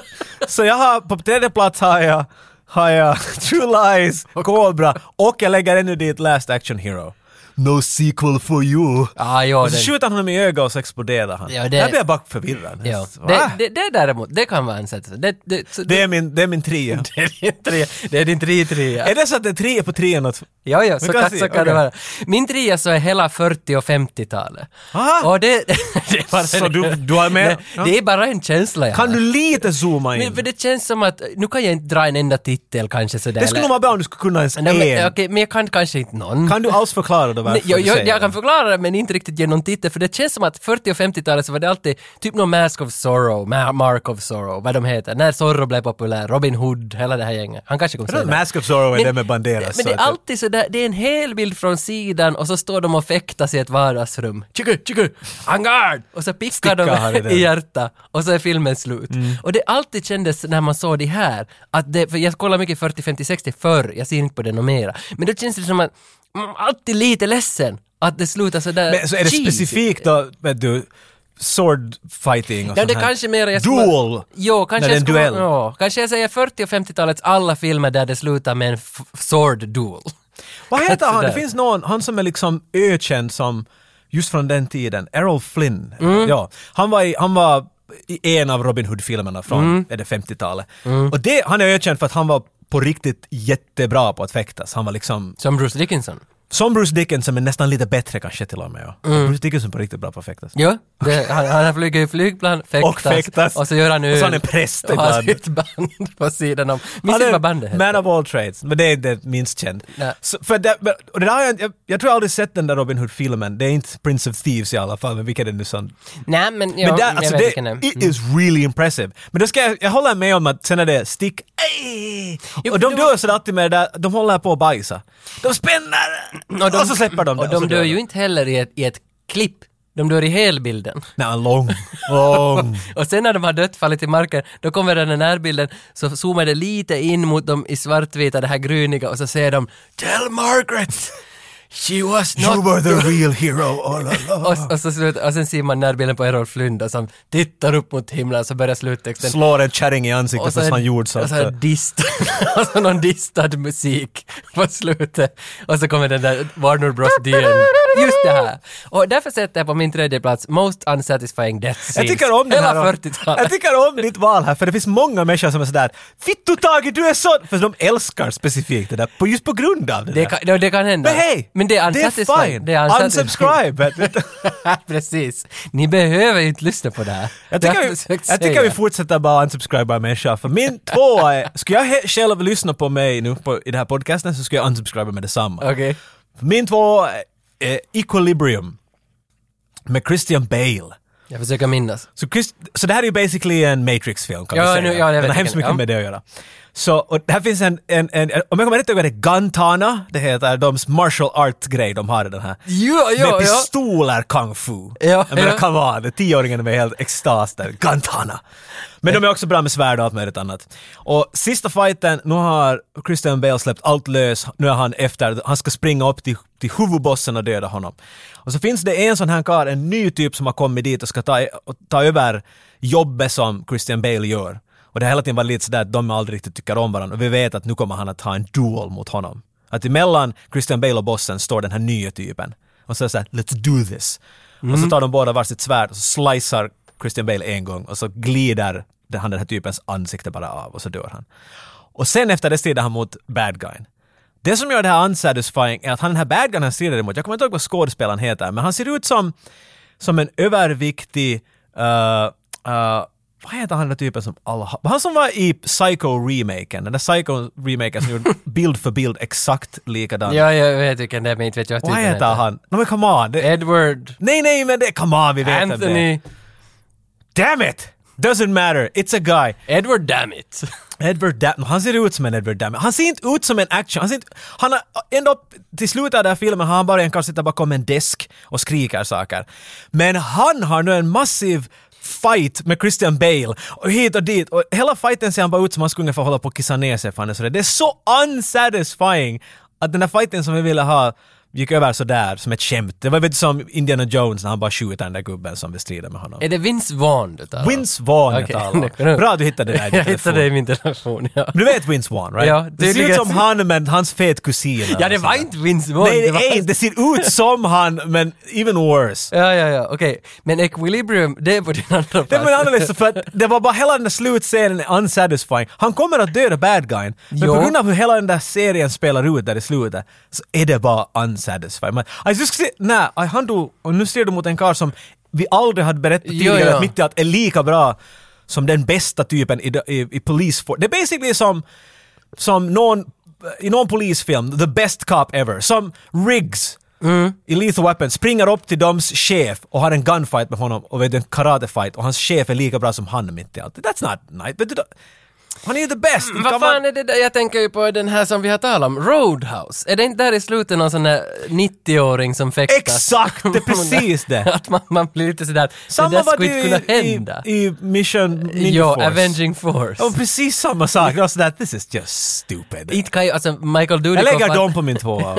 Speaker 2: *laughs* Så jag har, på tredje plats har jag, har jag *laughs* True Lies, Cobra och jag lägger ännu dit Last Action Hero. No sequel for you.
Speaker 1: Ah, *laughs* ja,
Speaker 2: Och så
Speaker 1: den,
Speaker 2: skjuter han honom i ögat och så exploderar han.
Speaker 1: Ja, det-
Speaker 2: Där blir jag bara förvirrad.
Speaker 1: ja.
Speaker 2: Va?
Speaker 1: det, det, det däremot, det kan vara en sätt. Det, det, så-
Speaker 2: Det är min, det är min trea.
Speaker 1: *laughs* det är din trea. Det är din trea, trea.
Speaker 2: Är det så att det är tre på trean att...
Speaker 1: Ja, ja, så
Speaker 2: kan
Speaker 1: kan,
Speaker 2: se,
Speaker 1: så kan det
Speaker 2: okej.
Speaker 1: vara. Min trea så är hela 40 och 50-talet.
Speaker 2: Ah!
Speaker 1: Och det, *laughs* det är bara
Speaker 2: Så du- du har med-
Speaker 1: Det, det är bara en känsla jag
Speaker 2: Kan
Speaker 1: har.
Speaker 2: du lite zooma in?
Speaker 1: Men, för det känns som att, nu kan jag inte dra en enda titel kanske sådär.
Speaker 2: det skulle nog vara bra om du skulle kunna ens
Speaker 1: Nej, men,
Speaker 2: en.
Speaker 1: okej, men jag kan kanske inte någon.
Speaker 2: Kan du alls förklara då varför
Speaker 1: Nej, jag,
Speaker 2: du
Speaker 1: jag,
Speaker 2: säger
Speaker 1: jag kan
Speaker 2: det?
Speaker 1: förklara det men inte riktigt ge någon titel för det känns som att 40 och 50-talet så var det alltid typ någon Mask of Sorrow, Ma- Mark of Sorrow, vad de heter, när Zorro blev populär, Robin Hood, hela det här gänget. Han kanske kommer
Speaker 2: Jag tror att Mask of Zorro är det med Banderas.
Speaker 1: Men
Speaker 2: så
Speaker 1: det är
Speaker 2: att-
Speaker 1: alltid sådär, det är en hel bild från sidan och så står de och fäktas i ett vardagsrum. Tjugu, tjugu, angard! Och så pickar
Speaker 2: han i
Speaker 1: de
Speaker 2: den.
Speaker 1: i hjärtat och så är filmen slut.
Speaker 2: Mm.
Speaker 1: Och det alltid kändes när man såg det här, att det, för jag kollar mycket 40, 50, 60 förr, jag ser inte på det något mera. Men då känns det som att man är alltid lite ledsen att det slutar sådär
Speaker 2: Men så är det
Speaker 1: cheesy.
Speaker 2: specifikt då, vet du, sword fighting och
Speaker 1: Ja,
Speaker 2: sånt
Speaker 1: det
Speaker 2: här.
Speaker 1: kanske mera... jag skulle-
Speaker 2: Duel!
Speaker 1: Jo, kanske
Speaker 2: När det är
Speaker 1: jag
Speaker 2: en
Speaker 1: skulle...
Speaker 2: duell.
Speaker 1: Ja, kanske jag säger 40 och 50-talets alla filmer där det slutar med en f- sword duel.
Speaker 2: Vad heter han? Det
Speaker 1: Sådär.
Speaker 2: finns någon, han som är liksom ökänd som, just från den tiden, Errol Flynn.
Speaker 1: Mm.
Speaker 2: Ja, han var i, han var i en av Robin Hood-filmerna från
Speaker 1: Mm.
Speaker 2: är det 50-talet. Och det, han är ökänd för att han var på riktigt jättebra på att fäktas. Han var liksom
Speaker 1: Som Bruce Dickinson.
Speaker 2: Som Bruce Dickinson men nästan lite bättre kanske till och med. Ja. Bruce Dickinson är på riktigt bra på att fäktas.
Speaker 1: Mm. Ja, det, han, han flyger i flygplan, fäktas,
Speaker 2: Och fäktas.
Speaker 1: och så gör han
Speaker 2: Och
Speaker 1: öl.
Speaker 2: så han är präst
Speaker 1: Och har
Speaker 2: ibland.
Speaker 1: *laughs* sitt band på sidan om. Minns
Speaker 2: Han
Speaker 1: inte
Speaker 2: är
Speaker 1: vad bandet heter.
Speaker 2: Man of all trades, men det är inte minst känd.
Speaker 1: Nej.
Speaker 2: Så, för det, men- och det där har jag, jag, jag tror jag aldrig sett den där Robin Hood-filmen. Det är inte Prince of Thieves i alla fall, men vilken är det nu som...
Speaker 1: Nej men, ja,
Speaker 2: men där,
Speaker 1: jag
Speaker 2: alltså
Speaker 1: vet Mm.
Speaker 2: det,
Speaker 1: vilken det är.
Speaker 2: it is really impressive. Men då ska jag, jag håller med om att sen är det stick, ej!
Speaker 1: Jo,
Speaker 2: Och
Speaker 1: för
Speaker 2: de
Speaker 1: det var-
Speaker 2: dör sådär alltid med det där, de håller på att bajsa. De spänner! Och, så släpper de det,
Speaker 1: Mm. Och de
Speaker 2: så
Speaker 1: dör
Speaker 2: de.
Speaker 1: ju inte heller i ett, i ett klipp. De dör i helbilden.
Speaker 2: Nej, lång,
Speaker 1: *laughs*
Speaker 2: lång.
Speaker 1: Och sen när de har dött, fallit i marken, då kommer den här närbilden, så zoomar det lite in mot dem i svartvita, det här gryniga, och så säger de ”Tell Margaret! She was not...”
Speaker 2: You were the real hero oh, all along.
Speaker 1: *laughs* och, och, så slut, och sen ser man närbilden på Errol Flynn då, som tittar upp mot himlen, så börjar sluttexten
Speaker 2: slår en kärring i ansiktet fast
Speaker 1: är-
Speaker 2: han gjorde så. eh,
Speaker 1: Och så är dist, *laughs* och så någon distad musik på slutet. Och så kommer den där Warner Bros. Dien. Just det här. Och därför sätter jag på min tredje plats Most Unsatisfying Death Scenes.
Speaker 2: jag tycker om den
Speaker 1: Hela
Speaker 2: här.
Speaker 1: 40-talet.
Speaker 2: Jag tycker om ditt val här, för det finns många människor som är sådär “Fittu Tage, du är så...” För de älskar specifikt det där, på, just på grund av det,
Speaker 1: Det
Speaker 2: där.
Speaker 1: kan, ja, det kan hända.
Speaker 2: Men hej!
Speaker 1: Men det är
Speaker 2: det
Speaker 1: unsatisfying.
Speaker 2: är fine!
Speaker 1: Det är unsatisfying.
Speaker 2: Unsubscribe! vet du.
Speaker 1: *laughs* Precis. Ni behöver inte lyssna på det här.
Speaker 2: jag
Speaker 1: Det har
Speaker 2: tycker, vi,
Speaker 1: försökt
Speaker 2: jag tycker
Speaker 1: säga.
Speaker 2: vi fortsätter bara unsubscriba människor,
Speaker 1: *laughs*
Speaker 2: för min tvåa är... Skulle jag he- själv lyssna på mig nu på, i den här podcasten så skulle jag unsubscriba med detsamma.
Speaker 1: Okej.
Speaker 2: Min tvåa är Equilibrium med Christian Bale.
Speaker 1: Jag försöker minnas.
Speaker 2: Så, Chris, så det här är ju basically en Matrix-film kan
Speaker 1: Ja,
Speaker 2: vi säga.
Speaker 1: nu- ja, jag vet
Speaker 2: den har
Speaker 1: vilken,
Speaker 2: hemskt mycket
Speaker 1: ja.
Speaker 2: med det att göra. Så, och här finns en, en, en om jag kommer rätt ihåg är det Gantana, det heter dems martial art-grej de har i den här.
Speaker 1: Jo,
Speaker 2: med
Speaker 1: jo, jo.
Speaker 2: pistoler kung fu.
Speaker 1: Ja,
Speaker 2: jag menar,
Speaker 1: ja.
Speaker 2: come on, det- tioåringen är helt extas där. Gantana. Men de är också bra med svärd och allt möjligt annat. Och sista fighten, nu har Christian Bale släppt allt lös. Nu är han efter, han ska springa upp till, till huvudbossen och döda honom. Och så finns det en sån här karl, en ny typ som har kommit dit och ska ta, och ta över jobbet som Christian Bale gör. Och det har hela tiden varit lite sådär att de aldrig riktigt tycker om varandra. Och vi vet att nu kommer han att ha en duel mot honom. Att emellan Christian Bale och bossen står den här nya typen. Och så är det såhär, let's do this. Och
Speaker 1: Mm.
Speaker 2: så tar de båda varsitt svärd och så slicear Christian Bale en gång och så glider den- han den här typens ansikte bara av och så dör han. Och sen efter det strider han mot bad guyn. Det som gör det här unsatisfying är att han den här bad guyn han strider emot, jag kommer inte ihåg vad skådespelaren heter, men han ser ut som, som en överviktig, eh, eh, vad heter han den där typen som alla har? Han som var i Psycho-remaken, den där Psycho-remaken
Speaker 1: *laughs*
Speaker 2: som gjorde bild för bild exakt likadan.
Speaker 1: Ja, jag vet vilken det är, men inte vet jag
Speaker 2: vad
Speaker 1: titeln
Speaker 2: heter han? No, men come on! Det,
Speaker 1: Edward
Speaker 2: nej, nej, men det, come on, vi vet vem det är.
Speaker 1: Anthony.
Speaker 2: Damn it! Doesn't matter, it's a guy.
Speaker 1: Edward Dammit.
Speaker 2: Edward Dam- han ser ut som en Edward Dammit. Han ser inte ut som en action. Han ser inte, han har, ända upp till slutet av den här filmen har han bara en karl sitta bakom en desk och skriker saker. Men han har nu en massiv fight med Christian Bale och hit och dit och hela fighten ser han bara ut som han skulle ungefär hålla på att kissa ner sig för han är så rädd. Det är så unsatisfying att den där fighten som vi ville ha gick över sådär som ett skämt. Det var väl som Indiana Jones när han bara skjuter den där gubben som vill strida med honom.
Speaker 1: är det Vince Vaughn du talar om?
Speaker 2: Vince Vaughn jag
Speaker 1: Okej,
Speaker 2: talar
Speaker 1: *laughs*
Speaker 2: om.
Speaker 1: nu kan du-
Speaker 2: Bra du hittade det där i
Speaker 1: *laughs*
Speaker 2: din
Speaker 1: Jag
Speaker 2: telefon.
Speaker 1: hittade det i min telefon, ja.
Speaker 2: Men du vet Vince Vaughn, right?
Speaker 1: Ja,
Speaker 2: det ser ut
Speaker 1: tydligen.
Speaker 2: som han men hans fet kusin. eller
Speaker 1: Ja, det var
Speaker 2: sådär.
Speaker 1: inte Vince Vaughn.
Speaker 2: Nej, det,
Speaker 1: var-
Speaker 2: är inte. Det ser ut som han, men even worse.
Speaker 1: Ja, ja, ja, okej. Men Equilibrium, det är på din andra plats.
Speaker 2: Det var en annan lista för att det var bara hela den där slutscenen är unsatisfying. Han kommer att döda bad guyn, men
Speaker 1: Jo.
Speaker 2: på grund av hur hela den där serien spelar ut där i slutet så är det bara unsatisfying. Men, jag skulle säga, nej, aj, han dog, och nu ser du mot en karl som vi aldrig hade berättat
Speaker 1: Jo,
Speaker 2: tidigare
Speaker 1: ja.
Speaker 2: att mitt i allt är lika bra som den bästa typen i, i, i police force. Det är basically som som någon, i någon polisfilm, the best cop ever, som Riggs
Speaker 1: Mm.
Speaker 2: i Lethal Weapon springer upp till doms chef och har en gunfight med honom och vet du, en karatefight och hans chef är lika bra som han mitt i allt. That's not nice. Vet du, då- Han är ju the best!
Speaker 1: Mm, Vad fan är det där? Jag tänker ju på den här som vi har talat om, Roadhouse. Är det inte där i slutet någon sån där 90-åring som fäktas?
Speaker 2: Exakt,
Speaker 1: *laughs*
Speaker 2: det är precis det.
Speaker 1: Att man, man blir lite sådär att det
Speaker 2: Samma
Speaker 1: där
Speaker 2: var
Speaker 1: skulle
Speaker 2: det
Speaker 1: inte kunna
Speaker 2: ju i,
Speaker 1: hända.
Speaker 2: i, i Mission Ninja
Speaker 1: Jo,
Speaker 2: Force.
Speaker 1: Avenging Force.
Speaker 2: Och precis samma sak. Det var sådär, this is just stupid.
Speaker 1: Inte kan ju, alltså Michael
Speaker 2: Jag
Speaker 1: Dudikoff...
Speaker 2: lägger
Speaker 1: han-
Speaker 2: dem på
Speaker 1: *laughs*
Speaker 2: min tvåa.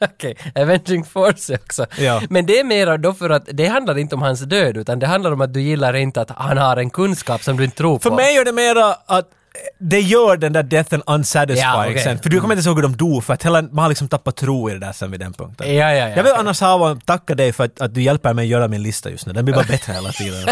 Speaker 1: Okej, Avenging Force också.
Speaker 2: Ja.
Speaker 1: Men det är mera då för att det handlar inte om hans död utan det handlar om att du gillar inte att han har en kunskap som du inte tror
Speaker 2: För
Speaker 1: på.
Speaker 2: mig är det mera att det gör den där deathen unsatisfying
Speaker 1: Ja, okej. Mm.
Speaker 2: sen. För du kommer inte ihåg hur de dog för att hela, man har liksom tappat tro i det där sen vid den punkten.
Speaker 1: Ja, ja, ja.
Speaker 2: Jag vill annars ha tacka dig för att, att du hjälper mig att göra min lista just nu. Den blir bara bättre
Speaker 1: *laughs*
Speaker 2: hela tiden.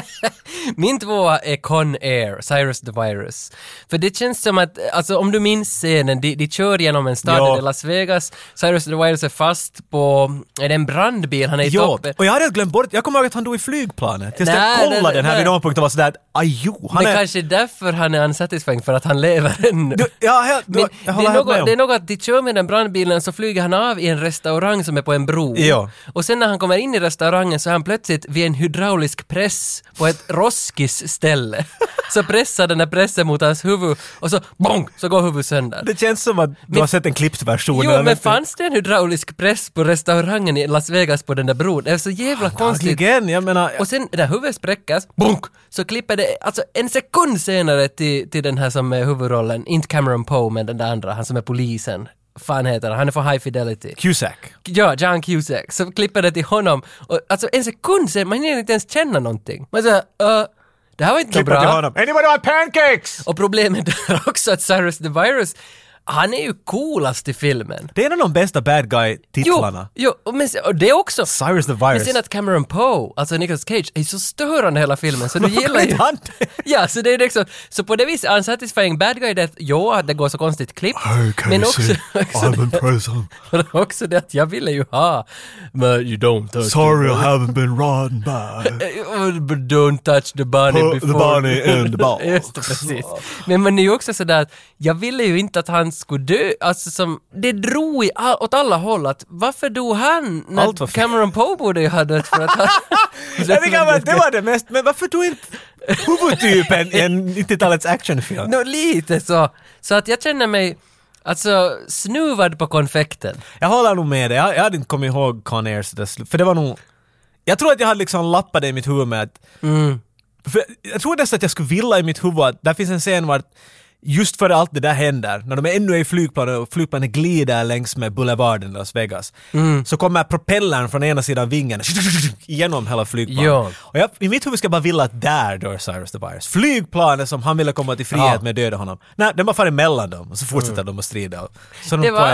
Speaker 1: Min tvåa är Con Air, Cyrus the Virus. För det känns som att, alltså om du minns scenen, de, de kör genom en stad,
Speaker 2: Ja.
Speaker 1: det är Las Vegas, Cyrus the Virus är fast på, är det en brandbil? Han är i
Speaker 2: jo,
Speaker 1: toppen.
Speaker 2: och jag hade helt glömt bort, jag kommer ihåg att han dog i flygplanet. Tills
Speaker 1: Nej,
Speaker 2: jag kollade
Speaker 1: nej, nej,
Speaker 2: den här
Speaker 1: nej.
Speaker 2: vid någon punkt och var sådär att ajo, han
Speaker 1: Men
Speaker 2: är...
Speaker 1: kanske därför han är unsatisfying, för att han lever ännu.
Speaker 2: Du, ja, helt, du,
Speaker 1: Men
Speaker 2: jag
Speaker 1: det,
Speaker 2: håller
Speaker 1: är
Speaker 2: helt med
Speaker 1: något,
Speaker 2: om.
Speaker 1: det är något att de kör med den brandbilen så flyger han av i en restaurang som är på en bro.
Speaker 2: Ja.
Speaker 1: Och sen när han kommer in i restaurangen så är han plötsligt vid en hydraulisk press på ett roskis ställe.
Speaker 2: *laughs*
Speaker 1: Så pressar den där pressen mot hans huvud och så bong, så går huvudet sönder.
Speaker 2: Det känns som att du har sett en klippt version.
Speaker 1: Jo,
Speaker 2: eller
Speaker 1: men
Speaker 2: vet du-
Speaker 1: fanns det en hydraulisk press på restaurangen i Las Vegas på den där bron? Det är så
Speaker 2: Ah,
Speaker 1: jävla konstigt.
Speaker 2: Antagligen, jag menar...
Speaker 1: Och sen när huvudet spräckas, bunk, så klipper det alltså en sekund senare till, till den här som är huvudrollen, inte Cameron Poe men den där andra, han som är polisen. Fan heter han, han är från High Fidelity.
Speaker 2: Cusack.
Speaker 1: Ja, John Cusack. Så klipper det till honom och alltså en sekund senare, man hinner inte ens känna någonting. Man säger, uh, det här var inte
Speaker 2: Klipper till
Speaker 1: bra.
Speaker 2: honom. Anybody want pancakes?
Speaker 1: Och problemet *laughs* är också att Cyrus the Virus, han är ju coolast i filmen.
Speaker 2: Det är en av de bästa bad
Speaker 1: Jo,
Speaker 2: guy-titlarna.
Speaker 1: jo och men, se- och det också.
Speaker 2: Cyrus the Virus.
Speaker 1: Men
Speaker 2: *laughs*
Speaker 1: sen att Cameron Poe, alltså Nicolas Cage, är så störande hela filmen
Speaker 2: *laughs*
Speaker 1: så du gillar ju...
Speaker 2: han det?
Speaker 1: Ja, så det är liksom, så på det viset, unsatisfying bad guy death, jo att det går så konstigt klippt, men också, *laughs* också,
Speaker 5: I'm in prison.
Speaker 1: det, *laughs* också det att jag ville ju ha, but you don't touch
Speaker 5: Sorry I haven't been robbed by
Speaker 1: the, eh, but don't touch the bunny
Speaker 5: Put the
Speaker 1: before.
Speaker 5: bunny in the
Speaker 1: *laughs*
Speaker 5: box.
Speaker 1: Just det, precis. Men man är ju också sådär att jag ville ju inte att han skulle dö, alltså som, det drog i, all, åt alla håll att varför dog han när
Speaker 2: Allt var fel.
Speaker 1: Cameron Poe borde ju ha dött för att han...
Speaker 2: Jag tycker att det var det mest, men varför
Speaker 1: *laughs*
Speaker 2: tog inte huvudtypen i en 90-talets actionfilm?
Speaker 1: Nå, lite så. Så att jag känner mig alltså snuvad på konfekten.
Speaker 2: Jag håller nog med dig, jag, jag hade inte kommit ihåg Con Air så där sl- för det var nog... Jag tror att jag hade liksom lappat det i
Speaker 1: Mm.
Speaker 2: mitt huvud med att... För jag tror nästan att jag skulle vilja i mitt huvud att där finns en scen vart just före allt det där händer, när de är ännu i flygplanet och flygplanet glider längs med boulevarden i Las Vegas,
Speaker 1: Mm.
Speaker 2: så kommer propellern från ena sidan vingen *laughs* igenom hela flygplanet.
Speaker 1: Ja.
Speaker 2: Och jag, i mitt huvud ska jag bara vilja att där dör Cyrus the Virus. Flygplanet som han ville komma till frihet
Speaker 1: Ja. Mm.
Speaker 2: med dödade honom. Nej, den bara far emellan dem och så fortsätter de att strida. Så de
Speaker 1: Det
Speaker 2: på
Speaker 1: var-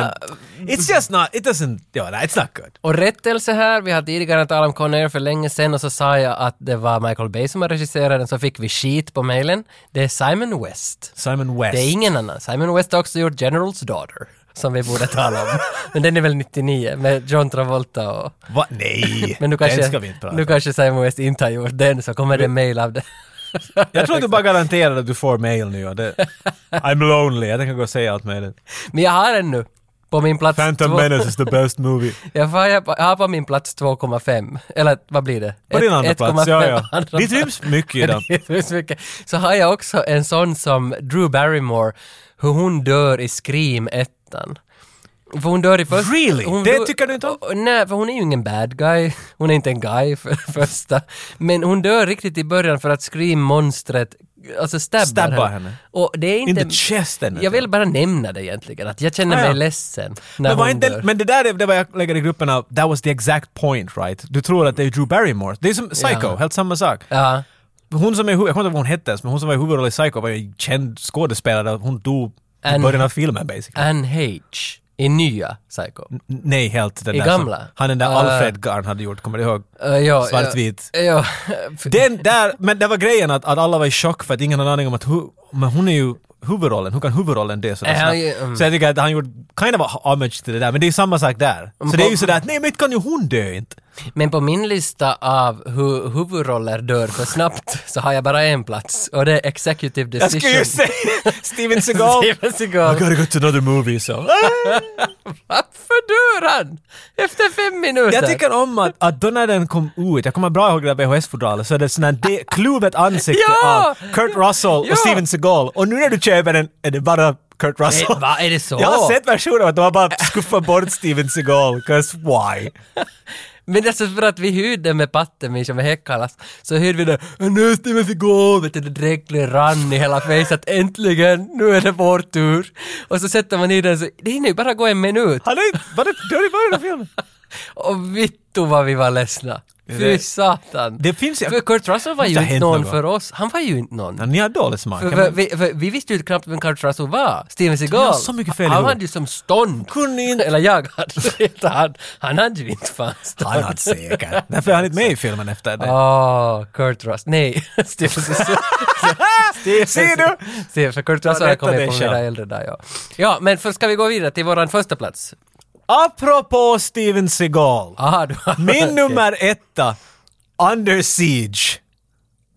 Speaker 2: en, it's just not, it doesn't, ja, nej, it's not good.
Speaker 1: Och rättelse här, vi har tidigare talat om Conair för länge sedan och så sa jag att det var Michael Bay som har regisserat den, så fick vi skit på mejlen. Det är Simon West.
Speaker 2: Simon West.
Speaker 1: Det är ingen annan. Simon West har också gjort General's Daughter, som vi borde tala
Speaker 2: *laughs*
Speaker 1: om. Men den är väl 99, med John Travolta och...
Speaker 2: Va? Nej,
Speaker 1: *laughs* Men nu kanske,
Speaker 2: den ska vi inte prata
Speaker 1: nu
Speaker 2: om.
Speaker 1: kanske Simon West inte har gjort den, så kommer det mejl av det.
Speaker 2: Jag tror att du bara garanterar att du får mail nu. och Det, I'm lonely, jag tänker gå och säga allt möjligt.
Speaker 1: *laughs* Men jag har den nu, på min plats
Speaker 5: Phantom
Speaker 1: två.
Speaker 5: Menace is the
Speaker 1: *laughs*
Speaker 5: best movie.
Speaker 1: Jag har, jag har på min plats 2,5. Eller vad blir det?
Speaker 2: På din andra
Speaker 1: Ett-
Speaker 2: plats, ja
Speaker 1: 1,5
Speaker 2: ja.
Speaker 1: *laughs* andra
Speaker 2: Ditt
Speaker 1: plats.
Speaker 2: ryms mycket i dem.
Speaker 1: *laughs* Det är så mycket. Så har jag också en sån som Drew Barrymore, hur hon dör i Scream 1. För hon dör i första...
Speaker 2: Really?
Speaker 1: Hon
Speaker 2: Det
Speaker 1: dör-
Speaker 2: tycker du inte om?
Speaker 1: Och- Nej, för hon är ju ingen bad guy. *laughs* Hon är inte en guy för det första. Men hon dör riktigt i början för att Scream-monstret alltså stabbar,
Speaker 2: Stabbar
Speaker 1: henne.
Speaker 2: henne.
Speaker 1: Och det är
Speaker 2: In
Speaker 1: inte...
Speaker 2: the chest ännu.
Speaker 1: jag vill bara nämna det egentligen, att jag känner
Speaker 2: Ah,
Speaker 1: mig
Speaker 2: ja.
Speaker 1: ledsen när
Speaker 2: men, var
Speaker 1: hon
Speaker 2: inte,
Speaker 1: dör.
Speaker 2: men det där är det var jag lägger i gruppen av, that was the exact point right? Du tror att det är Drew Barrymore. Det är som Psycho,
Speaker 1: Ja.
Speaker 2: helt samma sak.
Speaker 1: Ja.
Speaker 2: Hon som är, hu- jag kommer inte ihåg vad hon hette ens, men hon som var i huvudrollen i Psycho var ju en känd skådespelare. Hon dog i
Speaker 1: Anne-
Speaker 2: början av filmen basically.
Speaker 1: Anne H. i nya Psycho.
Speaker 2: N- Nej, helt den
Speaker 1: I
Speaker 2: där
Speaker 1: gamla?
Speaker 2: Som, han den där
Speaker 1: Ah.
Speaker 2: Alfred Garn hade gjort, kommer du ihåg?
Speaker 1: Eh, ja,
Speaker 2: Svartvit.
Speaker 1: Ja, ja.
Speaker 2: Den där, men det var grejen att, att alla var i chock för att ingen hade en aning om att hu, men hon är ju huvudrollen, hur kan huvudrollen det sådär
Speaker 1: Äh, han ju-
Speaker 2: snabbt?
Speaker 1: mm.
Speaker 2: Så jag tycker att han gjorde kind of a homage till det där, men det är ju samma sak där. Så det är ju sådär att nej men inte kan ju hon dö inte.
Speaker 1: Men på min lista av hur huvudroller dör för
Speaker 2: *laughs*
Speaker 1: snabbt så har jag bara en plats och det är Executive
Speaker 2: Jag
Speaker 1: Decision.
Speaker 2: skulle ju säga *laughs* Steven
Speaker 1: *laughs*
Speaker 2: Seagal.
Speaker 1: Steven Seagal.
Speaker 5: I gotta go to another
Speaker 1: *laughs*
Speaker 5: movie, so.
Speaker 1: Varför dör han? Efter fem minuter?
Speaker 2: Jag tycker om att, att då när den kom ut, jag kommer bra ihåg det där VHS-fodralet, så är det sån här de- kluvet ansikte
Speaker 1: Ja!
Speaker 2: av Kurt Russell
Speaker 1: Ja!
Speaker 2: och Steven Seagal. Och nu när du köper den är det bara Kurt Russell.
Speaker 1: Eh, va, är det så?
Speaker 2: Jag har sett versioner av att de har bara skuffat bort Steven Seagal, 'cause why?
Speaker 1: Men alltså för att vi hyrde med Pattemich och med Häckalas så hyrde vi det "Äh, ”Nu Steven Seagal!” Vet du, det dräklig rann i hela fejset. Äntligen! Nu är det vår tur! Och så sätter man i den så det hinner ju bara gå en minut.
Speaker 2: Han är bara dör i början av filmen.
Speaker 1: Och vittu vad vi var ledsna! Fy
Speaker 2: Det-
Speaker 1: satan!
Speaker 2: Det finns ju...
Speaker 1: För Kurt Russell var
Speaker 2: Måste
Speaker 1: ju
Speaker 2: ha
Speaker 1: inte
Speaker 2: hänt
Speaker 1: någon
Speaker 2: något.
Speaker 1: för oss. Han var ju inte någon.
Speaker 2: Ja, Ni har dålig smak.
Speaker 1: För,
Speaker 2: Kan
Speaker 1: för,
Speaker 2: man-
Speaker 1: vi, för, vi visste ju inte knappt vem Kurt Russell var. Steven Seagal.
Speaker 2: har så mycket fel i
Speaker 1: han
Speaker 2: huvudet.
Speaker 1: hade ju som stånd.
Speaker 2: Kunde inte-
Speaker 1: Eller jag hade *laughs* inte. Han, han hade ju inte fan stånd.
Speaker 2: Han hade säkert. Därför är han inte med i filmen efter det.
Speaker 1: Åh, Kurt Russell. Nej, *laughs* Steven Seagal.
Speaker 2: *laughs* Ser Ah! du?
Speaker 1: Steven, för Kurt Russell har
Speaker 2: Rätta dig
Speaker 1: kommit på
Speaker 2: själv.
Speaker 1: mina äldre dagar. Ja. ja, men för ska vi gå vidare till våran första plats?
Speaker 2: Apropå Steven Seagal.
Speaker 1: Aha, du har... *laughs*
Speaker 2: Min nummer etta, Under Siege.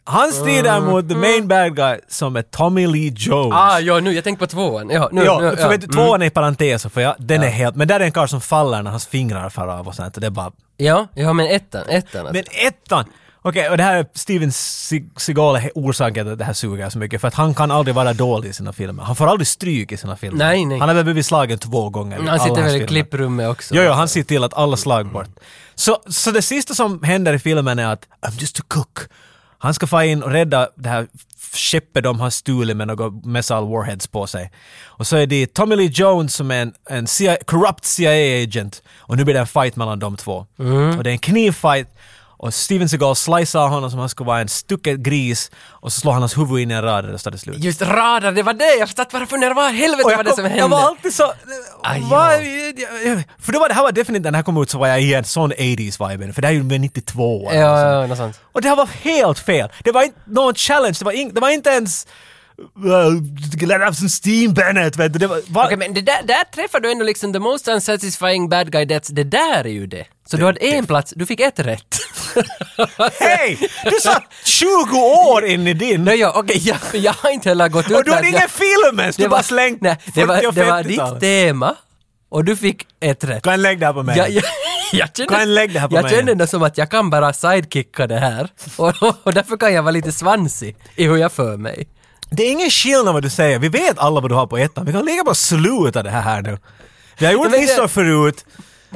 Speaker 2: Han strider mot the main bad guy som är Tommy Lee Jones.
Speaker 1: Mm. Ah, ja, nu, jag tänkte på tvåan. Ja, Mm. nu,
Speaker 2: ja,
Speaker 1: nu,
Speaker 2: för vet du, tvåan är i parentes, för jag, den är helt... Men där är en karl som faller när hans fingrar far av och sånt. och Det är bara...
Speaker 1: ja, ja, men ettan, ettan. alltså.
Speaker 2: Men ettan! Okej, och det här är Steven Se- Seagal är he- orsaken till att det här suger så mycket. För att han kan aldrig vara dålig i sina filmer. Han får aldrig stryk i sina filmer.
Speaker 1: Nej, nej.
Speaker 2: Han har väl blivit slagen två gånger i
Speaker 1: han
Speaker 2: alla
Speaker 1: sitter
Speaker 2: hans
Speaker 1: väl i
Speaker 2: filmer.
Speaker 1: klipprummet också?
Speaker 2: Jo, jo, han ser till att alla slag bort. Så, så det sista som händer i filmen är att I'm just a cook. Han ska få in och rädda det här skeppet de har stulit med några missile warheads på sig. Och så är det Tommy Lee Jones som är en, en CIA, corrupt CIA-agent. Och nu blir det en fight mellan de två. Och det är en knivfight. Och Steven Seagal slicear honom som han skulle vara en stucket gris. Och så slår han hans huvud in i en rad och där står det slut.
Speaker 1: Just radar, det var det! Jag satt bara och funderade, vad i helvete
Speaker 2: Och
Speaker 1: var det som hände?
Speaker 2: jag var alltid så...
Speaker 1: Aj,
Speaker 2: va,
Speaker 1: ja.
Speaker 2: för då var det här var definitivt, när det här kom ut så var jag i en sån 80s-vibe, för det här är ju med 92 eller något
Speaker 1: Ja,
Speaker 2: sånt.
Speaker 1: ja, något sånt.
Speaker 2: Och det här var helt fel! Det var inte någon challenge, det var, in, det var inte ens... Uh, let have some steam Bennett, vet du. Det var, va,
Speaker 1: Okej, men det där, där träffar du ändå liksom the most unsatisfying bad guy deaths. Det där är ju det. Så du hade en plats, du fick ett rätt.
Speaker 2: *laughs* Hej! Du satt 20 år in i
Speaker 1: *laughs*
Speaker 2: din!
Speaker 1: Nej, ja, okej, ja, för jag har inte heller gått ut
Speaker 2: och du hade
Speaker 1: med-
Speaker 2: ingen film ens! Du bara slängt
Speaker 1: nej, det, var,
Speaker 2: 40 och
Speaker 1: det var
Speaker 2: 50-talet.
Speaker 1: ditt tema och du fick ett rätt.
Speaker 2: Kan jag lägga det här på mig?
Speaker 1: Jag, jag, *laughs* jag känner,
Speaker 2: Kan lägg det här på
Speaker 1: jag
Speaker 2: mig.
Speaker 1: känner det som att jag kan bara sidekicka det här. *laughs* Och, och, och därför kan jag vara lite svansig i hur jag för mig.
Speaker 2: Det är ingen skillnad vad du säger. Vi vet alla vad du har på ettan. Vi kan lika bara sluta det här, här nu. Vi har gjort
Speaker 1: Men det-
Speaker 2: listor förut.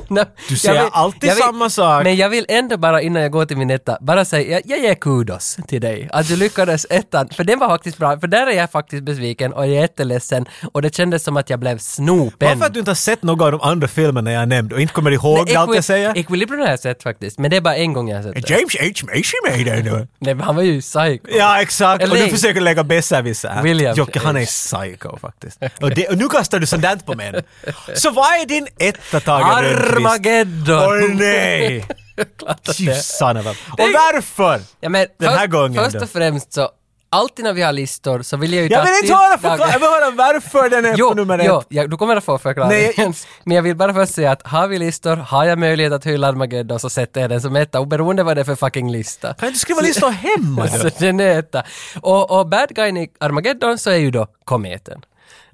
Speaker 1: Nej,
Speaker 2: Du
Speaker 1: jag
Speaker 2: säger
Speaker 1: vill-
Speaker 2: alltid
Speaker 1: jag vill-
Speaker 2: samma sak.
Speaker 1: Men jag vill ändå bara innan jag går till min etta, bara säga, jag, jag ger kudos till dig. Att du lyckades ettan, för den var faktiskt bra. För där är jag faktiskt besviken och jag är jätteledsen och det kändes som att jag blev snopen.
Speaker 2: Varför att du inte har sett några av de andra filmerna jag nämnde och inte kommer ihåg
Speaker 1: Nej,
Speaker 2: allt
Speaker 1: Equi-
Speaker 2: jag säger?
Speaker 1: Equilibrium har jag sett faktiskt, men det är bara en gång jag har sett det.
Speaker 2: James H. Macy made det nu.
Speaker 1: Nej, men han var ju psycho.
Speaker 2: Ja, exakt. Och
Speaker 1: Eller-
Speaker 2: du försöker lägga besserwisser här.
Speaker 1: William
Speaker 2: Jocke, han är
Speaker 1: H.
Speaker 2: psycho faktiskt. Och, det, och nu kastar du sånt där på mig. Så vad är din etta, Tage Rönnqvist?
Speaker 1: Armageddon!
Speaker 2: Åh nej!
Speaker 1: *laughs* Klart att det är.
Speaker 2: Tjussan av- Och varför?
Speaker 1: Ja, men
Speaker 2: Den
Speaker 1: först,
Speaker 2: här gången
Speaker 1: Först
Speaker 2: då.
Speaker 1: och främst så, alltid när vi har listor så vill jag ju
Speaker 2: Jag
Speaker 1: ta
Speaker 2: vill inte
Speaker 1: sista
Speaker 2: höra förklara,
Speaker 1: dagen.
Speaker 2: jag vill höra varför den är på nummer ett.
Speaker 1: jo, ja, du kommer att få förklaringen.
Speaker 2: Nej, jag-
Speaker 1: *laughs* Men jag vill bara först säga att har vi listor, har jag möjlighet att hylla Armageddon så sätter jag den som etta, oberoende vad det är för fucking lista.
Speaker 2: Kan du inte skriva
Speaker 1: *laughs*
Speaker 2: listor hemma då?
Speaker 1: Så den är etta. Och, och bad guyn i Armageddon så är ju då kometen.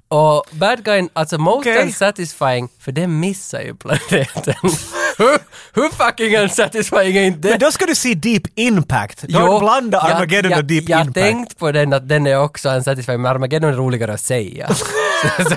Speaker 1: Och bad guyn, alltså most
Speaker 2: Okej.
Speaker 1: unsatisfying, för den missar ju planeten. *laughs* hur, hur fucking unsatisfying är inte det?
Speaker 2: Men då ska du se Deep Impact. Då
Speaker 1: Jo,
Speaker 2: blandar
Speaker 1: jag-
Speaker 2: Armageddon
Speaker 1: jag,
Speaker 2: och Deep
Speaker 1: Jag
Speaker 2: Impact.
Speaker 1: tänkt på den att den är också unsatisfying, men Armageddon är roligare att
Speaker 2: *laughs*
Speaker 1: säga. Så- så-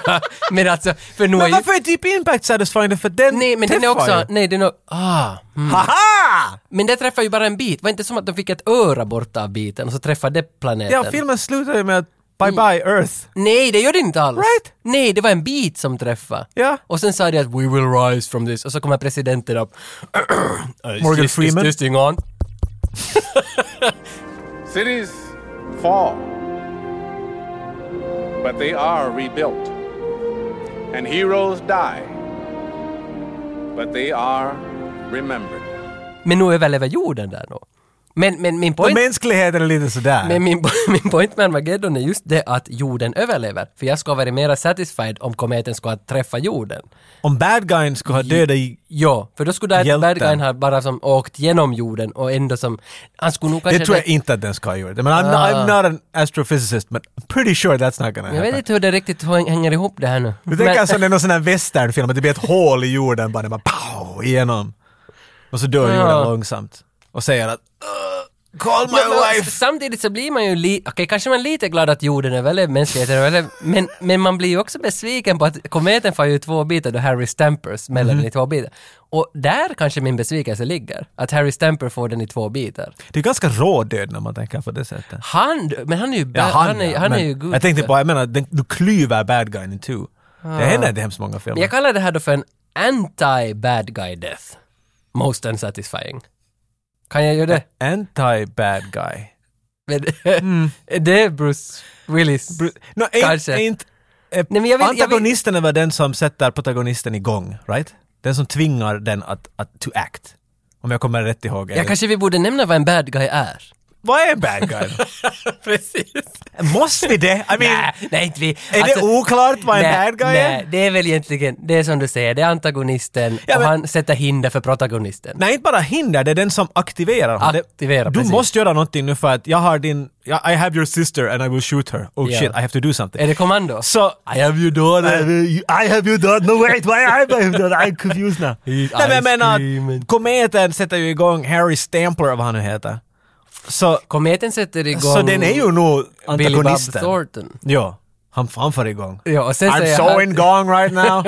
Speaker 1: men alltså, för nu är
Speaker 2: Men
Speaker 1: ju...
Speaker 2: varför är Deep Impact satisfying? För den
Speaker 1: Nej, men den är
Speaker 2: träffar
Speaker 1: också...
Speaker 2: ju.
Speaker 1: Nej, den är... Ah. Mm.
Speaker 2: Haha!
Speaker 1: Men det träffar ju bara en bit. Var det inte som att de fick ett öra bort av biten och så träffade det planeten?
Speaker 2: Ja, filmen slutar ju med att
Speaker 1: Mm.
Speaker 2: Bye bye Earth.
Speaker 1: Nej, det gör det inte alls.
Speaker 2: Right?
Speaker 1: Nej, det var en bit som träffade.
Speaker 2: Ja.
Speaker 1: Och sen sa de att “We will rise from this” och så kommer presidenten upp. *clears throat* Äh, Is
Speaker 2: Morgan
Speaker 1: this-
Speaker 2: Freeman.
Speaker 1: Is this thing on?
Speaker 6: Cities fall, but they are rebuilt. And heroes die, but they are remembered.
Speaker 1: Men nu överlever jorden där då. Men, men min
Speaker 2: Och
Speaker 1: poäng...
Speaker 2: mänskligheten är lite sådär.
Speaker 1: Men min, *laughs* min point med Armageddon är just det att jorden överlever. För jag skulle ha varit mera satisfied om kometen skulle ha träffat jorden.
Speaker 2: Om bad guyn skulle ha dödat i...
Speaker 1: Ja, för då skulle den
Speaker 2: Hjälten.
Speaker 1: bad guyn ha bara som åkt genom jorden och ändå som... Han skulle nog kanske...
Speaker 2: Det tror jag inte att den ska ha gjort. I mean, I'm,
Speaker 1: Ah.
Speaker 2: I'm not an astrophysicist, but I'm pretty sure that's not gonna happen.
Speaker 1: Jag vet inte hur det riktigt häng- hänger ihop det här nu.
Speaker 2: Du
Speaker 1: *laughs*
Speaker 2: tänker alltså det är någon sån här westernfilm, att det blir ett hål i jorden bara, det bara pow, igenom. Och så dör
Speaker 1: Ja.
Speaker 2: jorden långsamt. Och säger att "Ugh, Call my
Speaker 1: Men- men
Speaker 2: wife!
Speaker 1: Samtidigt så blir man ju lite, okej kanske man är lite glad att jorden är väldigt mänskligheten är väldigt, men, men man blir ju också besviken på att kometen får ju två bitar då Harry Stamper smäller
Speaker 2: Mhm.
Speaker 1: den i två bitar. Och där kanske min besvikelse ligger, att Harry Stamper får den i två bitar.
Speaker 2: Det är ganska rå död när man tänker på det sättet.
Speaker 1: Han, men han är ju, bad- han, är,
Speaker 2: ja,
Speaker 1: han är
Speaker 2: men
Speaker 1: ju good.
Speaker 2: Jag tänkte på, jag menar, den, du klyver bad guyn i two. Det händer inte i hemskt många
Speaker 1: Men
Speaker 2: filmer.
Speaker 1: jag kallar det här då för en anti-bad guy death. Most unsatisfying. Kan jag göra det?
Speaker 2: Anti-bad guy.
Speaker 1: Men, *laughs* det är Bruce Willis.
Speaker 2: Mm. Bru- No, ain't,
Speaker 1: Kanske.
Speaker 2: Ain't, eh,
Speaker 1: Nej, men jag vill- jag vill-
Speaker 2: antagonisten är väl den som sätter protagonisten igång, right? Den som tvingar den att, att to act. Om jag kommer rätt ihåg.
Speaker 1: ja,
Speaker 2: Eller-
Speaker 1: kanske vi borde nämna vad en bad guy
Speaker 2: *laughs*
Speaker 1: är.
Speaker 2: Vad är en bad guy?
Speaker 1: Precis.
Speaker 2: Måste vi det? I mean,
Speaker 1: Nej, nej, inte vi. Alltså,
Speaker 2: är det oklart vad en bad guy
Speaker 1: nej,
Speaker 2: är?
Speaker 1: Nej, det är väl egentligen, det är som du säger, det är antagonisten
Speaker 2: Ja,
Speaker 1: och
Speaker 2: men-
Speaker 1: han sätter hinder för protagonisten.
Speaker 2: Nej, inte bara hinder, det är den som aktiverar honom. Det-
Speaker 1: Aktiverar,
Speaker 2: Du
Speaker 1: precis.
Speaker 2: måste göra någonting nu för att jag har din... ja, I have your sister and I will shoot her. Oh
Speaker 1: Ja.
Speaker 2: shit, I have to do something.
Speaker 1: Är det kommando?
Speaker 2: Så... I have your daughter. I have your daughter. No wait, why I have your daughter? I'm confused now. Nej men jag menar, kometen sätter ju igång Harry Stampler, vad han nu heter. Så,
Speaker 1: Kometen sätter igång...
Speaker 2: så den är ju nog
Speaker 1: Billy Bob
Speaker 2: antagonisten.
Speaker 1: Thornton.
Speaker 2: Ja, han, han för igång.
Speaker 1: Ja, och sen
Speaker 2: I'm
Speaker 1: säger
Speaker 2: so
Speaker 1: han-
Speaker 2: in gong right
Speaker 1: *laughs*
Speaker 2: now.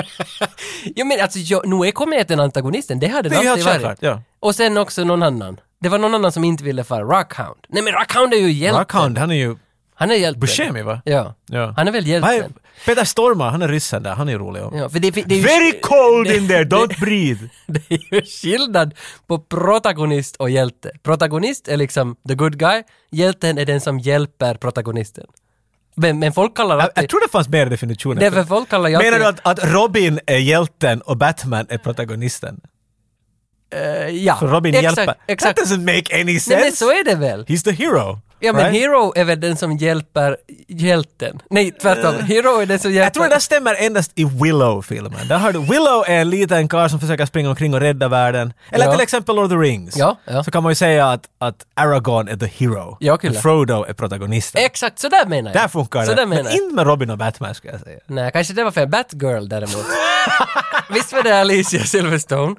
Speaker 1: Ja men alltså, jag, nu är kometen antagonisten, det hade
Speaker 2: Det är
Speaker 1: den alltid
Speaker 2: helt
Speaker 1: varit.
Speaker 2: självklart, ja.
Speaker 1: Och sen också någon annan. Det var någon annan som inte ville fara, Rockhound. Nej men Rockhound är ju hjälten.
Speaker 2: Rackhand, han är ju
Speaker 1: Han är hjälten.
Speaker 2: Buscemi va?
Speaker 1: Ja.
Speaker 2: Ja.
Speaker 1: Han är väl
Speaker 2: Vad är-
Speaker 1: hjälten.
Speaker 2: Peter Stormare, han är ryssen där, han är ju rolig.
Speaker 1: Ja, för det, det, det är ju,
Speaker 2: Very cold in there, don't breathe.
Speaker 1: *laughs* det är ju skillnad på protagonist och hjälte. Protagonist är liksom the good guy, hjälten är den som hjälper protagonisten. Men, men folk kallar
Speaker 2: Jag,
Speaker 1: alltid...
Speaker 2: jag tror det fanns mer definitioner.
Speaker 1: Det är för folk kallar ju alltid...
Speaker 2: Menar du att, att Robin är hjälten och Batman är protagonisten?
Speaker 1: Eh, ja,
Speaker 2: För Robin
Speaker 1: exakt,
Speaker 2: hjälper.
Speaker 1: Exakt.
Speaker 2: That doesn't make any sense.
Speaker 1: Nej men så är det väl?
Speaker 2: He's the hero.
Speaker 1: Ja men
Speaker 2: right?
Speaker 1: Hero är väl den som hjälper hjälten? Nej tvärtom, Hero är den som hjälper...
Speaker 2: Eh, Jag tror det där stämmer endast i Willow-filmen. Där har du, Willow är en liten karl som försöker springa omkring och rädda världen. Eller
Speaker 1: Ja.
Speaker 2: till exempel Lord of the Rings.
Speaker 1: Ja, ja.
Speaker 2: Så kan man ju säga att, att Aragorn är the hero.
Speaker 1: Ja, kul.
Speaker 2: Och Frodo är protagonisten.
Speaker 1: Exakt, så där menar jag.
Speaker 2: där funkar
Speaker 1: så
Speaker 2: det.
Speaker 1: Där menar
Speaker 2: Men
Speaker 1: jag.
Speaker 2: inte med Robin och Batman skulle jag säga.
Speaker 1: Nej, kanske det var fel. Batgirl däremot. *laughs* Visst var det Alicia Silverstone?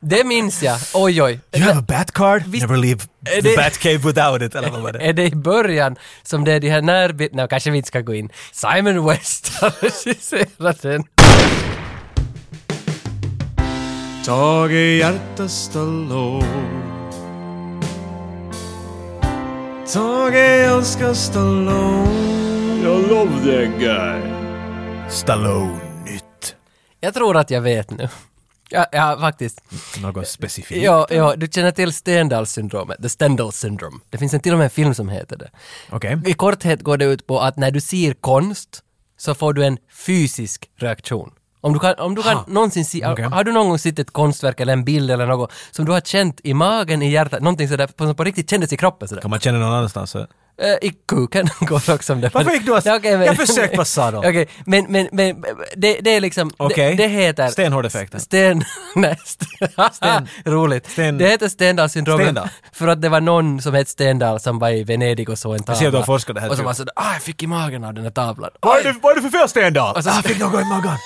Speaker 1: Det minns jag. Oj, oj.
Speaker 2: You have a bat card? Never leave
Speaker 1: Är
Speaker 2: the
Speaker 1: Eh, det- Eh.
Speaker 2: bat cave without it. Eller vad var det?
Speaker 1: Är det i början som det är de här närbilderna, no, kanske vi inte ska gå in. Simon *laughs* West har regisserat den.
Speaker 7: Tage Hjärta Stallone Tage älskar Stallone Jag love that guy
Speaker 2: Stallone-nytt.
Speaker 1: Jag tror att jag vet nu. Ja, ja faktiskt.
Speaker 2: Mm. Något specifikt.
Speaker 1: Ja, ja, du känner till Stendhal-syndromet, the Stendhal syndrome. Det finns en till och med en film som heter det.
Speaker 2: Okej.
Speaker 1: I korthet går det ut på att när du ser konst så får du en fysisk reaktion. Om du kan, om du kan någonsin se,
Speaker 2: Okej.
Speaker 1: har du någon gång sett ett konstverk eller en bild eller något som du har känt i magen, i hjärtat, någonting sådär, på- som på riktigt kändes i kroppen sådär.
Speaker 2: Kan man känna någon annanstans? så-
Speaker 1: Eh, I kuken *laughs* går också om det.
Speaker 2: Varför gick du att-
Speaker 1: Ja, okej, men-
Speaker 2: Jag försökte vara
Speaker 1: *laughs*
Speaker 2: sadel.
Speaker 1: Okej, men, men, men det, det är liksom...
Speaker 2: Okej.
Speaker 1: Det, det heter...
Speaker 2: Stenhårdeffekten.
Speaker 1: Sten... *laughs* Nej, *laughs* sten, Roligt.
Speaker 2: Ah, Sten-
Speaker 1: det heter Stendhal-syndromet.
Speaker 2: Stendhal.
Speaker 1: *laughs* För att det var någon som hette Stendhal som var i Venedig och såg en tavla.
Speaker 2: ser att du har forskat det här,
Speaker 1: Och som
Speaker 2: tror jag.
Speaker 1: var sådär, ah, jag fick i magen av den här tavlan.
Speaker 2: Vad är det- vad är det för fel Stendal?
Speaker 1: så-
Speaker 2: Ah, fick något
Speaker 1: *laughs*
Speaker 2: i magen.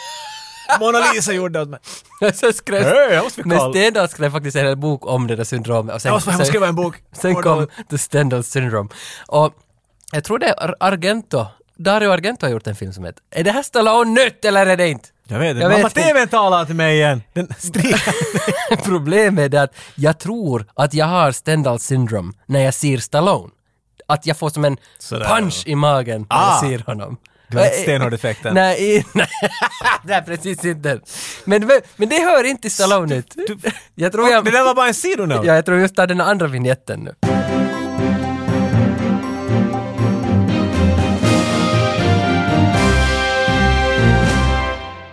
Speaker 2: Mona Lisa gjorde det åt mig.
Speaker 1: Så skrev...
Speaker 2: Hej, jag måste bli
Speaker 1: men
Speaker 2: kall.
Speaker 1: Stendhal skrev faktiskt en hel bok om det där syndromet. Och sen,
Speaker 2: Jag måste hem och skriva en bok.
Speaker 1: *laughs* Sen kom The Stendhal Syndrome. Och jag tror det är Ar- Argento. Dario Argento har gjort en film som heter... Är det här Stallone nytt eller är det inte?
Speaker 2: Jag vet inte.
Speaker 1: Jag vet
Speaker 2: Mamma
Speaker 1: inte.
Speaker 2: TV talar till mig igen. Den strider.
Speaker 1: *laughs* Problemet är att jag tror att jag har Stendhal Syndrome när jag ser Stallone. Att jag får som en
Speaker 2: Sådär.
Speaker 1: punch i magen när
Speaker 2: Ah.
Speaker 1: jag ser honom. Eh,
Speaker 2: Du har inte stenhårdeffekten.
Speaker 1: Nej, i- *laughs* nej, nej, precis inte. Men, men, men det hör inte till Stallone ut. Jag tror jag...
Speaker 2: Det där var bara en sidonote.
Speaker 1: Ja, jag tror just det är den andra vignetten nu.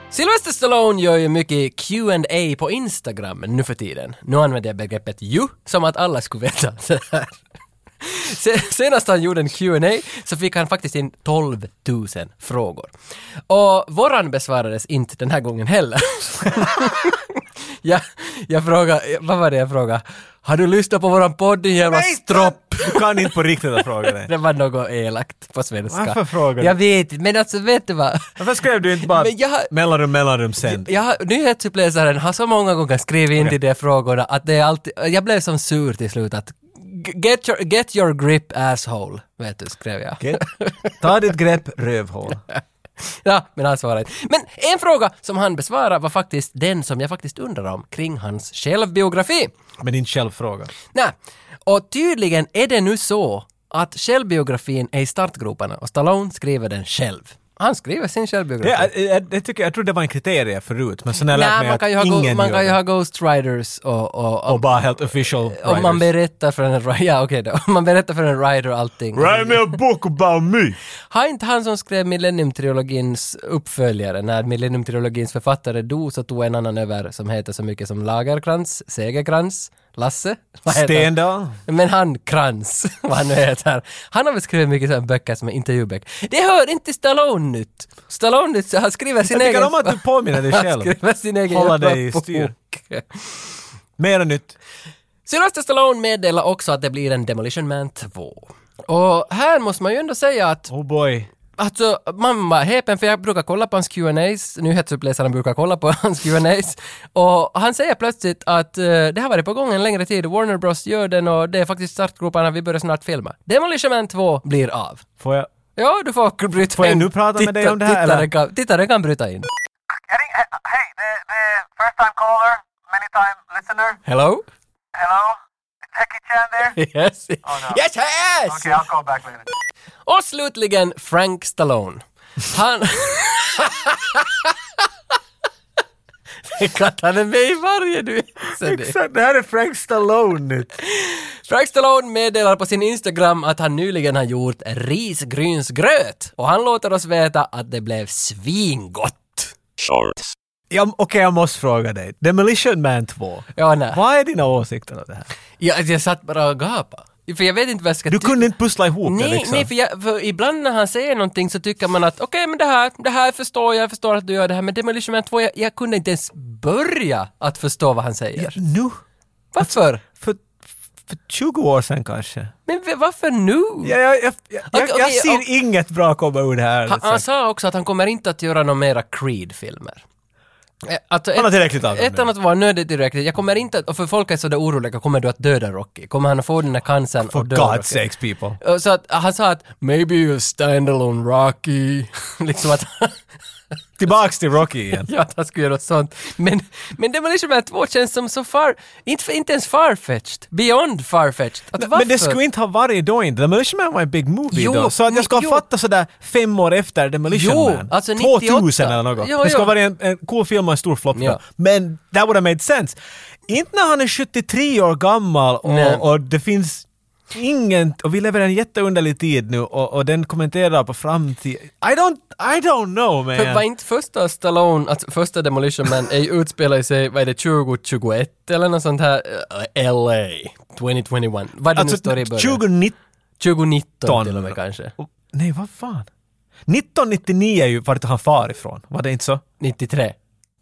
Speaker 1: Sylvester Stallone gör ju mycket Q&A på Instagram nu för tiden. Nu använder jag begreppet ju, som att alla skulle veta *laughs* det här. Se- Senast han gjorde en Q&A så fick han faktiskt in 12 000 frågor. Och våran besvarades inte den här gången heller. *laughs* jag, jag frågade, vad var det jag frågade? Har du lyssnat på våran podd din jävla stropp?
Speaker 2: Du kan inte på riktigt att fråga det.
Speaker 1: Det var något elakt på svenska.
Speaker 2: Varför frågar du?
Speaker 1: Jag vet inte, men alltså vet du vad?
Speaker 2: Varför skrev du inte bara
Speaker 1: Men jag har-
Speaker 2: mellanrum, mellanrum sen?
Speaker 1: Jag har, nyhetsuppläsaren har så många gånger skrivit in till de frågorna att det är alltid, jag blev som sur till slut att "G- Get your, get your grip asshole, vet du, skrev jag.
Speaker 2: Okej. Ta ditt grepp, rövhål.
Speaker 1: *laughs* Ja, men han svarade inte. Men en fråga som han besvarade var faktiskt den som jag faktiskt undrar om kring hans självbiografi.
Speaker 2: Men din självfråga.
Speaker 1: Nej, och tydligen är det nu så att självbiografin är i startgroparna och Stallone skriver den själv. Han skriver sin självbiografi.
Speaker 2: Det, det, det tycker jag, jag trodde det var en kriterie förut, men sen har jag lärt
Speaker 1: Nej,
Speaker 2: mig
Speaker 1: man
Speaker 2: att
Speaker 1: kan ju ha, go-
Speaker 2: ingen
Speaker 1: man
Speaker 2: gör
Speaker 1: kan ju
Speaker 2: det.
Speaker 1: ha Ghost Riders och, och, och,
Speaker 2: Och bara helt official
Speaker 1: om man
Speaker 2: writers.
Speaker 1: berättar för en rider, *laughs* ja okej då, om man berättar för en rider allting.
Speaker 5: Write me a book about me.
Speaker 1: Har inte han som skrev Millennium-trilogins uppföljare, när Millennium-trilogins författare dog så tog en annan över som heter så mycket som Lagerkrans, Segerkrans, Lasse? *laughs* Vad heter han?
Speaker 2: Stendal?
Speaker 1: Men han Krans, *laughs* vad han nu heter. Han har väl skrivit mycket sådana böcker som är intervjuböcker. Det hör inte till Stallone nytt. Stallone nytt, så han skriver sin
Speaker 2: Jag
Speaker 1: egen...
Speaker 2: tycker om att du påminner
Speaker 1: *laughs*
Speaker 2: dig
Speaker 1: Han
Speaker 2: själv.
Speaker 1: skriver sin egen
Speaker 2: Hålla
Speaker 1: jävla
Speaker 2: dig i styr.
Speaker 1: bok.
Speaker 2: Mera nytt.
Speaker 1: Sylvester Stallone meddelar också att det blir en Demolition Man 2. Och här måste man ju ändå säga att
Speaker 2: Oh boy.
Speaker 1: Alltså, man var häpen för jag brukar kolla på hans Q&As, nyhetsuppläsaren brukar kolla på *laughs* hans Q&As och han säger plötsligt att eh, det har varit på gång en längre tid, Warner Bros gör den och det är faktiskt startgroparna, vi börjar snart filma. Demolition Man 2 blir av.
Speaker 2: Får jag?
Speaker 1: Ja, du får bryta
Speaker 2: Får jag
Speaker 1: in.
Speaker 2: nu prata med dig
Speaker 1: Titta-
Speaker 2: om det här, eller?
Speaker 1: Tittaren kan, tittaren kan bryta in.
Speaker 3: Getting, he- uh, hey, the, the first time caller, many time listener.
Speaker 2: *laughs*
Speaker 1: Hello?
Speaker 3: Hello? Jackie Chan there?
Speaker 1: Yes. Yes, yes!
Speaker 3: Okay, I'll call back later.
Speaker 1: Och slutligen Frank Stallone. Han... Tänk att han är med i varje nu.
Speaker 2: Det här är Frank Stallone nytt.
Speaker 1: Frank Stallone meddelar på sin Instagram att han nyligen har gjort risgrynsgröt och han låter oss veta att det blev svingott.
Speaker 4: shorts,
Speaker 2: Ja, Okej, jag måste fråga dig. Demolition Man 2.
Speaker 1: Ja, nej.
Speaker 2: Vad är dina åsikter om det här?
Speaker 1: Jag, jag satt bara och gapade. För jag vet inte vad jag ska
Speaker 2: Du
Speaker 1: tycka.
Speaker 2: kunde inte pussla ihop det
Speaker 1: Nej,
Speaker 2: liksom?
Speaker 1: nej för, jag, för ibland när han säger någonting så tycker man att okej, men det här, det här förstår jag, jag förstår att du gör det här, men Demolition Man 2, jag, jag kunde inte ens börja att förstå vad han säger.
Speaker 2: Nu? alltså-
Speaker 1: Varför?
Speaker 2: För, för 20 år sedan kanske?
Speaker 1: Men v- varför nu?
Speaker 2: Ja, jag, jag, jag, jag,
Speaker 1: Okej,
Speaker 2: jag
Speaker 1: okej,
Speaker 2: ser
Speaker 1: och-
Speaker 2: inget bra komma ur det här.
Speaker 1: Han, han
Speaker 2: alltså.
Speaker 1: sa också att han kommer inte att göra några mera Creed-filmer. Eh, Alltså
Speaker 2: Han har tillräckligt av dem
Speaker 1: Ett
Speaker 2: nu.
Speaker 1: annat var nödigt tillräckligt. Jag kommer inte att, och för folk är sådär oroliga, kommer du att döda Rocky? Kommer han att få den här cancern
Speaker 2: For
Speaker 1: och dö Rocky?
Speaker 2: God's sakes people.
Speaker 1: Och Så att han sa att “Maybe you'll stand alone Rocky”. *laughs* liksom att
Speaker 2: Tillbaks till Rocky igen.
Speaker 1: Ja, att han skulle göra något sånt. Men, men liksom Demolition Man 2 känns som så far... Inte, inte ens farfetched. Beyond farfetched. Att varför?
Speaker 2: Men det skulle inte ha varit då inte. Demolition Man var en big movie
Speaker 1: Jo,
Speaker 2: då. Så att
Speaker 1: men-
Speaker 2: jag ska
Speaker 1: jo.
Speaker 2: ha fattat sådär fem år efter Demolition
Speaker 1: Jo,
Speaker 2: Man.
Speaker 1: alltså 98.
Speaker 2: 2000 eller något.
Speaker 1: Jo,
Speaker 2: det ska
Speaker 1: jo.
Speaker 2: ha varit en, en cool film och en stor flopp. då.
Speaker 1: Ja.
Speaker 2: Men that would have made sense. Inte när han är 73 år gammal
Speaker 1: Nej.
Speaker 2: och, och det finns ingen... Och vi lever i en jätteunderlig tid nu och, och den kommenterar på framtiden. I don't, I don't know man.
Speaker 1: För var inte första Stallone, alltså första Demolition Man, är ju utspelar sig, vad är det, 2021 eller något sånt här? eh, LA 2021. Vad är det nu
Speaker 2: Alltså
Speaker 1: står i början?
Speaker 2: 2019
Speaker 1: 2019 till och med kanske.
Speaker 2: Och- Nej, vad fan? 1999 är ju vart han far ifrån, var det inte så?
Speaker 1: 93.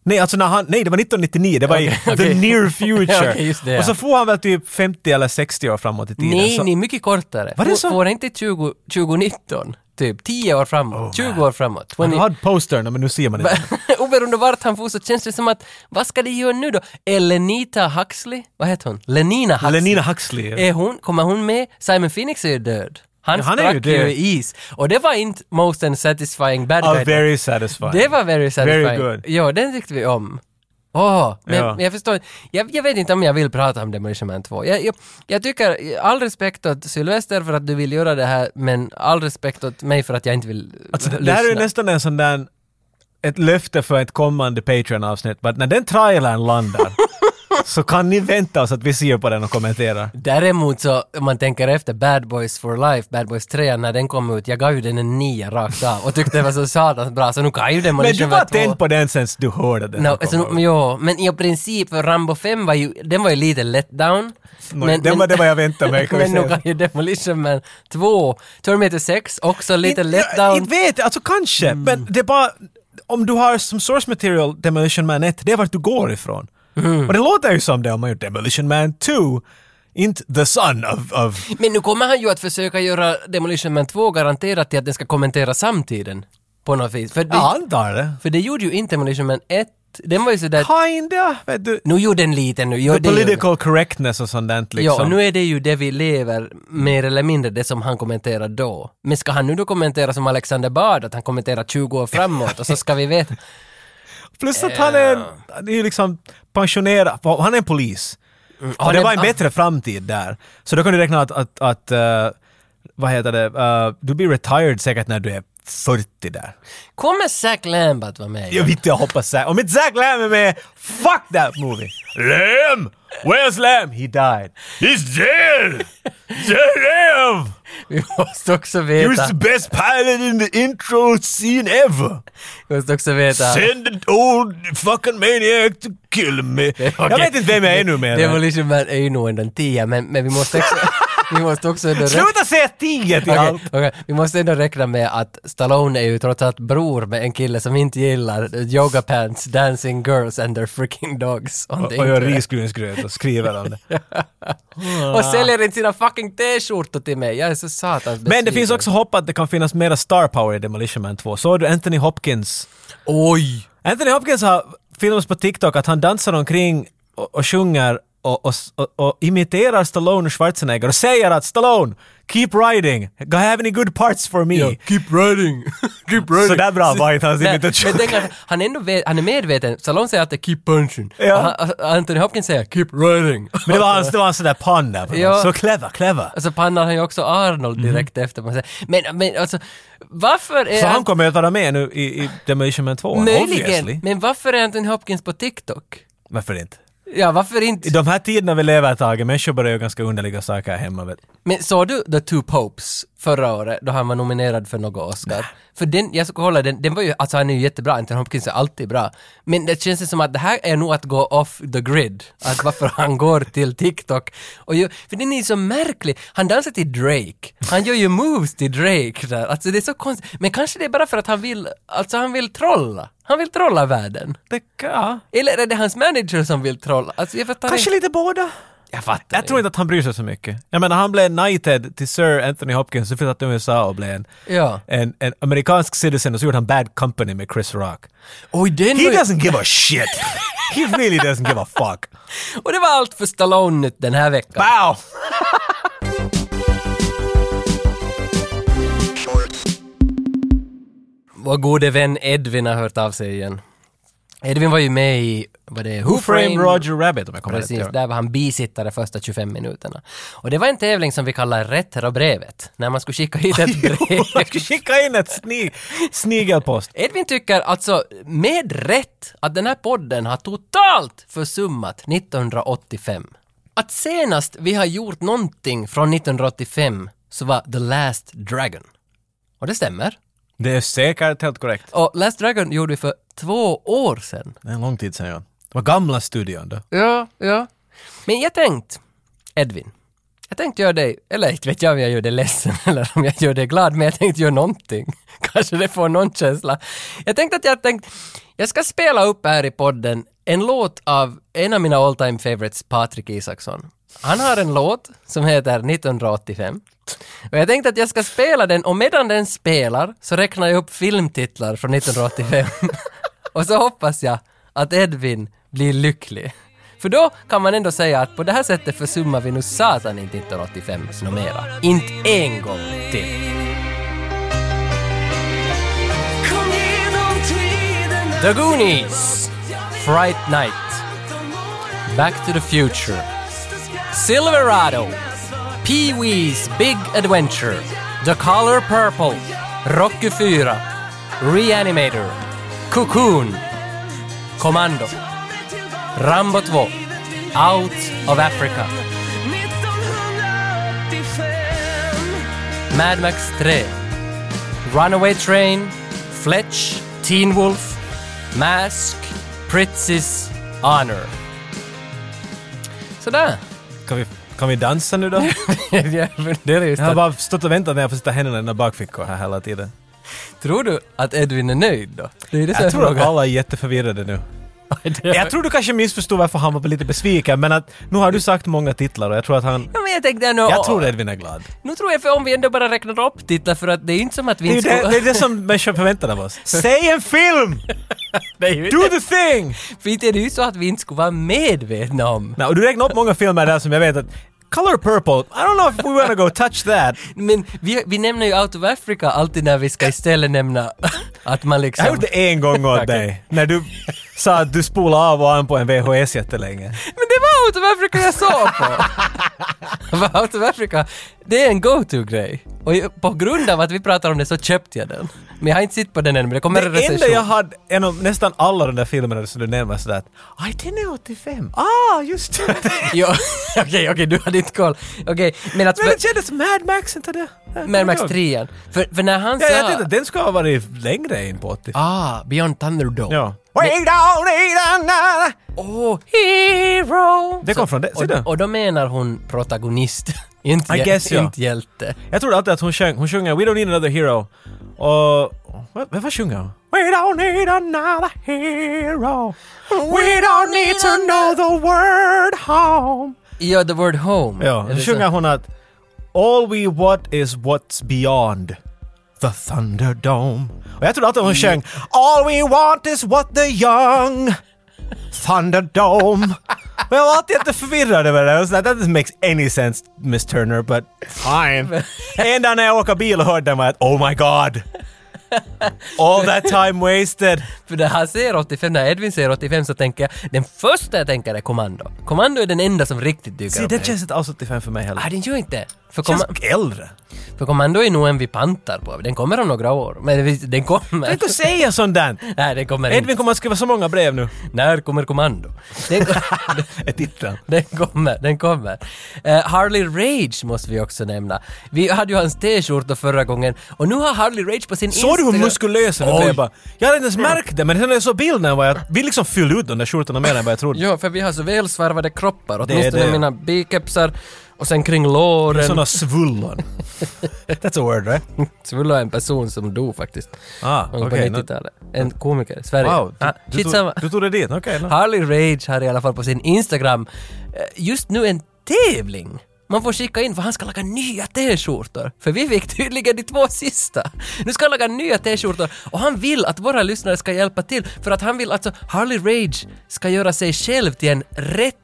Speaker 2: Nej, alltså när han, nej det var 1999, det var i
Speaker 1: Okej,
Speaker 2: the
Speaker 1: okej. *laughs*
Speaker 2: near future.
Speaker 1: Okej, just det,
Speaker 2: och så
Speaker 1: ja.
Speaker 2: får han väl typ 50 eller 60 år framåt i tiden.
Speaker 1: Nej,
Speaker 2: så,
Speaker 1: nej, mycket kortare.
Speaker 2: Var det så?
Speaker 1: Får inte 20, 2019, typ 10 år
Speaker 2: Oh,
Speaker 1: framåt, 20 år framåt. 20,
Speaker 2: Han hade postern, men nu
Speaker 1: *laughs*
Speaker 2: ser man inte.
Speaker 1: Oberoende vart han for så känns det som att, vad ska de göra nu då? Är Lenita Huxley, vad heter hon? Lenina Huxley.
Speaker 2: Lenina Huxley. ja.
Speaker 1: Är hon, kommer hon med? Simon Phoenix är ju död. Han,
Speaker 2: Ja, han är ju
Speaker 1: sprack ju,
Speaker 2: död.
Speaker 1: i is. Och det var inte most unsatisfying bad
Speaker 2: Ah,
Speaker 1: guy.
Speaker 2: very satisfying.
Speaker 1: det var very satisfying.
Speaker 2: Very good.
Speaker 1: Ja, den tyckte vi om. Åh, men
Speaker 2: Ja.
Speaker 1: men jag förstår jag, jag vet inte om jag vill prata om Demolition Man 2. Jag, jag, jag tycker, all respekt åt Sylvester för att du vill göra det här, men all respekt åt mig för att jag inte vill
Speaker 2: Alltså, det,
Speaker 1: lyssna.
Speaker 2: det här är ju nästan en sån där, ett löfte för ett kommande Patreon-avsnitt, men när den
Speaker 1: *laughs*
Speaker 2: trailern landar så kan ni vänta oss att vi ser på den och kommenterar.
Speaker 1: Däremot så, om man tänker efter, Bad Boys for Life, Bad Boys 3, när den kom ut, jag gav ju den en nia rakt av och tyckte det var så satans bra, så nu kan ju liksom
Speaker 2: Men du
Speaker 1: Demolition
Speaker 2: var
Speaker 1: Man 2.
Speaker 2: tänd på den sen du hörde den.
Speaker 1: No,
Speaker 2: och kom
Speaker 1: alltså,
Speaker 2: ihåg.
Speaker 1: jo, men i princip, för Rambo 5 var ju, den var ju lite letdown.
Speaker 2: Nå, den var det vad jag väntade mig, kan vi
Speaker 1: men nu
Speaker 2: säga.
Speaker 1: kan ju Demolition Man 2, Terminator 6, också lite Mm.
Speaker 2: Inte-
Speaker 1: letdown.
Speaker 2: Inte vet jag, alltså kanske. Men det är bara, om du har som source material Demolition Man 1, det är vart du går ifrån.
Speaker 1: Mm.
Speaker 2: Och det låter ju som det om man gjort Demolition Man 2. Inte the son of... of
Speaker 1: men nu kommer han ju att försöka göra Demolition Man 2 garanterat till att den ska kommentera samtiden. På något vis. För det,
Speaker 2: jag antar det.
Speaker 1: för det gjorde ju inte Demolition Man 1, den var ju sådär...
Speaker 2: Kinda, vet du.
Speaker 1: Nu gjorde den lite nu. Jo,
Speaker 2: The
Speaker 1: det gjorde den.
Speaker 2: political correctness och sånt där liksom.
Speaker 1: Ja, och nu är det ju det vi lever, mer eller mindre det som han kommenterar då. Men ska han nu då kommentera som Alexander Bard, att han kommenterar 20 år framåt och så ska vi veta?
Speaker 2: Plus att han är, han är ju liksom pensionerad, han är en polis.
Speaker 1: han
Speaker 2: Och det
Speaker 1: är-
Speaker 2: var en
Speaker 1: ah.
Speaker 2: bättre framtid där. Så då kan du räkna att, att, att eh, vad heter det, eh, du blir retired säkert när du är 40 där.
Speaker 1: Kommer Zack Lambert vara med?
Speaker 2: Jag vet inte, jag hoppas Zack. Om inte Zack Lam är med, fuck that movie!
Speaker 5: Lamb!
Speaker 2: Where's Lam? He died.
Speaker 5: He's dead! Dead Lamb!
Speaker 1: Vi måste också
Speaker 5: He
Speaker 1: veta,
Speaker 5: was the best pilot in the intro scene ever!
Speaker 1: vi måste också veta.
Speaker 5: Send the old fucking maniac to kill me! *laughs*
Speaker 2: Jag vet inte vem jag är nu med.
Speaker 1: Demolition Man liksom är ju nog ändå en tia, men, men vi måste också... vi måste också ändå räkna-
Speaker 2: Sluta säga tio till
Speaker 1: Okej,
Speaker 2: allt!
Speaker 1: okej. Vi måste ändå räkna med att Stallone är ju trots allt bror med en kille som inte gillar yoga pants, dancing girls and their freaking dogs. on the
Speaker 2: Och gör
Speaker 1: internet.
Speaker 2: risgrynsgröt och skriver om det.
Speaker 1: Och säljer inte sina fucking t-skjortor till mig. Jag är så satans
Speaker 2: Ah. Men det
Speaker 1: besviken.
Speaker 2: finns också hopp att det kan finnas mera star power i Demolition Man 2. Såg du Anthony Hopkins?
Speaker 1: Oj!
Speaker 2: Anthony Hopkins har filmats på TikTok att han dansar omkring och, och sjunger och, och, och, och imiterar Stallone och Schwarzenegger och säger att Stallone, keep riding, I have any good parts for me.
Speaker 1: Keep
Speaker 2: *laughs*
Speaker 1: riding! Keep riding!
Speaker 2: Så där bra var Alltså, inte hans
Speaker 1: Men, men
Speaker 2: imitation.
Speaker 1: tänk att han, är ändå vet, han är medveten. Stallone säger alltid “keep punching”.
Speaker 2: Ja.
Speaker 1: Och han, Anthony Hopkins säger “keep
Speaker 2: *laughs*
Speaker 1: riding”.
Speaker 2: Men det var hans, det var hans sån där pun där. på
Speaker 1: Ja. Alltså,
Speaker 2: något. Så clever, clever.
Speaker 1: Och så pannar han ju också Arnold direkt efter. Man säger. Men, men alltså, varför är...
Speaker 2: Mhm. Så han
Speaker 1: Ant-
Speaker 2: kommer att vara med nu i, i Demolition Man 2, obviously.
Speaker 1: Möjligen, men varför är Anthony Hopkins på TikTok?
Speaker 2: Varför inte?
Speaker 1: Ja, varför inte?
Speaker 2: I de här tiderna vi lever ett tag, människor börjar göra ganska underliga saker här hemma. Vet. du.
Speaker 1: Men såg du The Two Popes förra året då han var nominerad för något Oscar? För den, jag ska kolla den, den var ju, alltså han är ju jättebra, Anthony Hopkins är alltid bra. Men det känns som att det här är nog att gå off the grid, att varför *laughs* han går till TikTok. Och ju, för den är ju så märklig, han dansar till Drake, han gör ju moves till Drake där, alltså det är så konstigt. Men kanske det är bara för att han vill, alltså han vill trolla. Han vill trolla världen.
Speaker 2: Det, ja.
Speaker 1: Eller är det hans manager som vill trolla? Alltså jag fattar
Speaker 2: Kanske
Speaker 1: inte.
Speaker 2: lite båda.
Speaker 1: Jag fattar
Speaker 2: Jag tror inte att han bryr sig så mycket. Jag menar, han blev knighted till Sir Anthony Hopkins och flyttade till USA och blev en,
Speaker 1: Ja.
Speaker 2: en, en amerikansk citizen och så gjorde han Bad Company med Chris Rock.
Speaker 1: Oj, den
Speaker 2: He
Speaker 1: var ju-
Speaker 2: doesn't give a shit! He really doesn't give a fuck.
Speaker 1: Och det var allt för Stallone den här veckan.
Speaker 2: Wow!
Speaker 1: Vår gode vän Edvin har hört av sig igen. Edvin var ju med i, vad det är,
Speaker 2: Who framed Roger Rabbit om jag kommer
Speaker 1: Precis,
Speaker 2: rätt. ja.
Speaker 1: där var han bisittare första 25 minuterna. Och det var en tävling som vi kallar Rätter och brevet, när man skulle skicka hit ett brev.
Speaker 2: Jag ska skicka in ett sni, snigelpost.
Speaker 1: Edvin tycker alltså med rätt att den här podden har totalt försummat 1985. Att senast vi har gjort någonting från 1985 så var The Last Dragon. Och det stämmer.
Speaker 2: Det är säkert helt korrekt.
Speaker 1: Och Last Dragon gjorde vi för två år sedan.
Speaker 2: Det är en lång tid sedan ja. Det var gamla studion då.
Speaker 1: Ja, ja. Men jag tänkt, Edvin, jag tänkte göra dig, eller inte vet jag om jag gör dig ledsen *laughs* eller om jag gör dig glad, men jag tänkte göra någonting. *laughs* Kanske det får någon känsla. Jag tänkte att jag tänkt, jag ska spela upp här i podden en låt av en av mina all time favorites, Patrik Isaksson. Han har en låt som heter 1985. Och jag tänkte att jag ska spela den och medan den spelar så räknar jag upp filmtitlar från 1985. *laughs* och så hoppas jag att Edvin blir lycklig. För då kan man ändå säga att på det här sättet försummar vi nu satan inte 1985 nå mera. Inte en gång till. The Goonies! Fright Night. Back to the Future. Silverado. Pee-Wee's Big Adventure. The Color Purple. Rocky 4. Reanimator. Cocoon. Kommando. Rambo 2. Out of Africa. Mad Max 3. Runaway Train. Fletch. Teen Wolf. Mask. Pritzies Honor. *laughs* Sådär.
Speaker 2: Kan vi, kan vi dansa *laughs* nu då?
Speaker 1: Jag funderar just
Speaker 2: Jag har
Speaker 1: att,
Speaker 2: bara stått och väntat när jag får sätta händerna i mina bakfickor här hela tiden.
Speaker 1: Tror du att Edvin är nöjd då? Det är det som är
Speaker 2: Jag tror att
Speaker 1: frågan.
Speaker 2: alla är jätteförvirrade nu. Jag tror du kanske missförstod varför han var lite besviken, men att nu har du sagt många titlar och jag tror att han...
Speaker 1: Ja, men jag tänkte ändå...
Speaker 2: Jag tror Edvin är glad.
Speaker 1: Nu tror jag, för om vi ändå bara räknar upp titlar, för att det är ju inte som att vi
Speaker 2: Det är ju
Speaker 1: inte
Speaker 2: det, det, är det som människor förväntar av oss. *laughs* Säg en film!
Speaker 1: *laughs* det är ju
Speaker 2: Do the thing!
Speaker 1: För inte är det ju så att vi inte skulle vara medvetna om.
Speaker 2: Nej, och du räknar upp många filmer där som jag vet att Color Purple, I don't know if we wanna go touch that.
Speaker 1: Men vi, vi nämner ju Out of Africa alltid när vi ska istället nämna *laughs* att man
Speaker 2: Jag har
Speaker 1: liksom...
Speaker 2: gjort det en gång *laughs* åt dig, när du sa att du spolade av och an på en VHS jättelänge.
Speaker 1: Men det var Out of Africa jag såg på! *laughs* För Out of Africa, det är en go-to-grej. Och jag- på grund av att vi pratar om det så köpte jag den. Men jag har inte sett på den än, men det kommer en
Speaker 2: Det
Speaker 1: recension.
Speaker 2: enda jag hade, en av nästan alla de där filmerna som du nämner sådär att "Aj, den är 85. Ah, just *laughs* det.
Speaker 1: Jo, *laughs* Okej, okej, du hade inte koll. Okej, men att...
Speaker 2: Men det kändes Mad Max inte det? Jag
Speaker 1: Mad Max
Speaker 2: kommer
Speaker 1: 3 för, för när han
Speaker 2: ihåg. Ja, jag
Speaker 1: sa...
Speaker 2: tänkte att den ska ha varit längre in på 80.
Speaker 1: Ah, Beyond Thunderdome.
Speaker 2: Ja. Way down, way down, na, na.
Speaker 1: Oh, hero!
Speaker 2: Det kom från det, ser du?
Speaker 1: Och, och då menar hon protagonist, *laughs* inte,
Speaker 2: I
Speaker 1: hjäl-
Speaker 2: guess, ja.
Speaker 1: inte hjälte.
Speaker 2: Jag trodde alltid att hon sjöng, hon sjunger We don't need another hero. Och... Vad, vad, vad sjunger hon? We don't need another hero. We don't need to know the word home.
Speaker 1: Ja, the word home.
Speaker 2: Ja,
Speaker 1: Eller
Speaker 2: då
Speaker 1: så-
Speaker 2: sjunger hon att All we want is what's beyond the Thunderdome. Och jag trodde alltid
Speaker 1: Mm.
Speaker 2: hon sjöng All we want is what the young
Speaker 1: *laughs*
Speaker 2: Thunderdome. Men jag var alltid jätteförvirrad över det. Jag var sådär, That doesn't make any sense, Miss Turner, but
Speaker 1: *laughs*
Speaker 2: fine. Ända när jag åker bil och hörde den var jag att Oh my God! All that time wasted.
Speaker 1: *laughs* För när han ser 85, när Edvin ser 85 så tänker jag, den första jag tänker är Kommando. Kommando är den enda som riktigt dyker
Speaker 2: See,
Speaker 1: upp.
Speaker 2: det känns inte alls 85 för mig heller.
Speaker 1: Ah, den gör inte. För,
Speaker 2: Det känns
Speaker 1: komma,
Speaker 2: äldre.
Speaker 1: för Kommando är nog en vi pantar på. Den kommer om några år. Men vi- den kommer.
Speaker 2: Tänk att säga sånt där.
Speaker 1: *laughs* Nej, den kommer
Speaker 2: Edvin
Speaker 1: inte.
Speaker 2: kommer att skriva så många brev nu.
Speaker 1: När kommer Kommando? Den,
Speaker 2: Ett titlar.
Speaker 1: *laughs* Den kommer, den kommer. Eh, Harley Rage måste vi också nämna. Vi hade ju hans t-skjorta förra gången och nu har Harley Rage på sin
Speaker 2: Såg du hur
Speaker 1: Instagram-
Speaker 2: muskulös han
Speaker 1: Oj.
Speaker 2: blev? Jag bara, Jag hade inte ens märkt det, men sen när jag såg bilden var jag... Vi liksom fyllde ut de där skjortorna mer än vad jag trodde.
Speaker 1: Ja, för vi har så välsvarvade kroppar,
Speaker 2: är
Speaker 1: åtminstone
Speaker 2: det.
Speaker 1: mina bikepsar och sen kring
Speaker 2: Det är
Speaker 1: låren. *laughs*
Speaker 2: Såna svullon. That's a word right?
Speaker 1: Så vill jag ha en person som dog faktiskt.
Speaker 2: Ah,
Speaker 1: Någon
Speaker 2: okej,
Speaker 1: på
Speaker 2: nu-
Speaker 1: 90-talet. En komiker, i Sverige.
Speaker 2: Wow,
Speaker 1: ah,
Speaker 2: du, du, tog,
Speaker 1: skitsamma.
Speaker 2: du tog det dit? Okej. no.
Speaker 1: Harley Rage har i alla fall på sin Instagram eh, just nu en tävling. Man får skicka in för han ska laga nya t-skjortor. För vi fick tydligen de två sista. Nu ska han laga nya t-skjortor och han vill att våra lyssnare ska hjälpa till för att han vill alltså Harley Rage ska göra sig själv till en